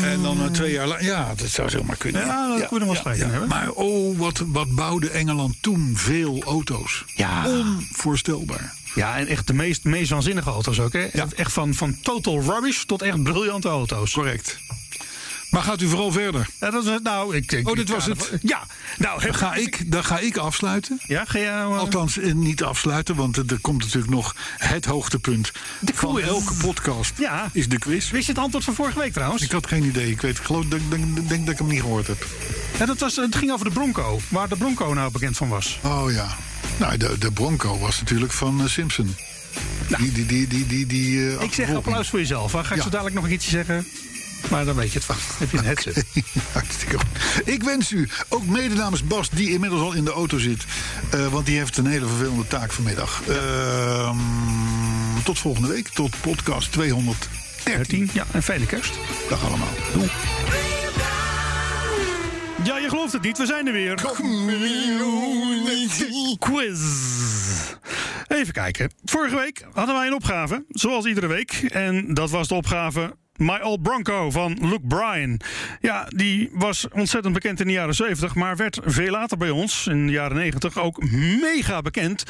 En dan eh, twee jaar later. Ja, dat zou zomaar kunnen. Ja, dat kunnen we wel spreken hebben. Maar oh, wat, wat bouwde Engeland toen veel auto's? Ja. Onvoorstelbaar. Ja, en echt de meest, meest waanzinnige auto's ook, hè? Echt van, van total rubbish tot echt briljante auto's. Correct. Maar gaat u vooral verder. Ja, dat was, nou, ik, ik, Oh, dit ik was ga het. ervan- Ja, nou, heb, Ga ik, dan ga ik afsluiten. Ja, ga jij nou... eh, Althans, eh, niet afsluiten, want eh, er komt natuurlijk nog het hoogtepunt. De van quiz. elke podcast Ja. is de quiz. Wist je het antwoord van vorige week trouwens? Ik had geen idee. Ik weet, ik geloof, denk, denk, denk dat ik hem niet gehoord heb. Ja, dat was, het ging over de Bronco, waar de Bronco nou bekend van was. Oh ja. Nou, de, de Bronco was natuurlijk van eh, Simpson. Die, die, die, die, die, die eh, Nou. Ik zeg achtervolging. (laughs) applaus voor jezelf. hè. Ga ik Ja. zo dadelijk nog een keertje zeggen? Maar dan weet je het van. Heb je een headset. (laughs) Hartstikke goed. Ik wens u, ook mede namens Bas, die inmiddels al in de auto zit... eh, want die heeft een hele vervelende taak vanmiddag. Ehm, tot volgende week, tot podcast 213. 13. Ja, en fijne kerst. Dag allemaal. Doei. Ja, je gelooft het niet. We zijn er weer. Quiz. Even kijken. Vorige week hadden wij een opgave, zoals iedere week. En dat was de opgave My Old Bronco van Luke Bryan. Ja, die was ontzettend bekend in de jaren 70, maar werd veel later bij ons, in de jaren 90, ook mega bekend.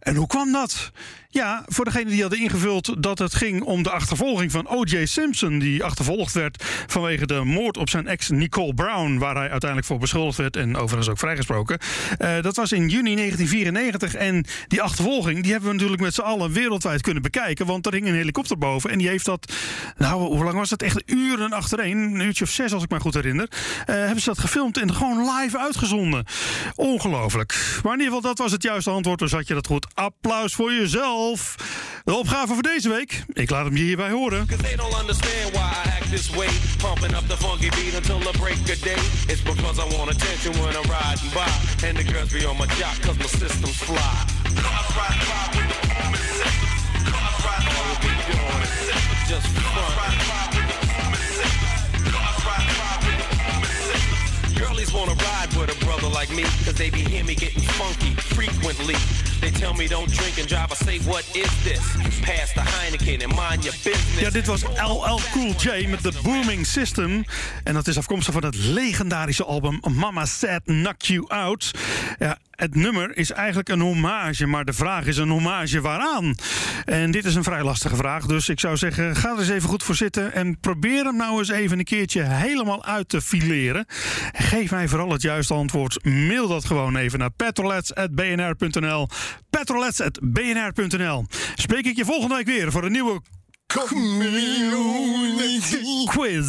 En hoe kwam dat? Ja, voor degene die hadden ingevuld dat het ging om de achtervolging van O.J. Simpson, die achtervolgd werd vanwege de moord op zijn ex Nicole Brown, waar hij uiteindelijk voor beschuldigd werd en overigens ook vrijgesproken. Eh, dat was in juni 1994 en die achtervolging die hebben we natuurlijk met z'n allen wereldwijd kunnen bekijken, want er hing een helikopter boven en die heeft dat, nou hoe lang was dat? Echt uren achtereen, een uurtje of zes als ik me goed herinner, eh, hebben ze dat gefilmd en gewoon live uitgezonden. Ongelooflijk. Maar in ieder geval, dat was het juiste antwoord, dus had je dat goed. Applaus voor jezelf. De opgave voor deze week, ik laat hem je hierbij horen. Cause they don't understand why I act this way. Pumping up the funky beat until the break of day. It's because I want attention when I'm riding by. And the girls be on my jock cause my system's fly. Cars ride by with the booming system. Cars ride by with the booming system. Just for fun. Cars ride by with the booming system. Cars ride by with the booming system. Girlies wanna ride with a brother like me, cause they be hear me getting funky frequently. They tell me don't drink and drive, I say what is this? Pass the Heineken and mind your business. Ja, dit was LL Cool J met The Booming System. En dat is afkomstig van het legendarische album Mama Said Knock You Out. Ja, het nummer is eigenlijk een hommage, maar de vraag is een hommage waaraan? En dit is een vrij lastige vraag, dus ik zou zeggen... ga er eens even goed voor zitten en probeer hem nou eens even een keertje helemaal uit te fileren. Geef mij vooral het juiste antwoord. Mail dat gewoon even naar petrolets.bnr.nl petrolets.bnr.nl Spreek ik je volgende week weer voor een nieuwe quiz.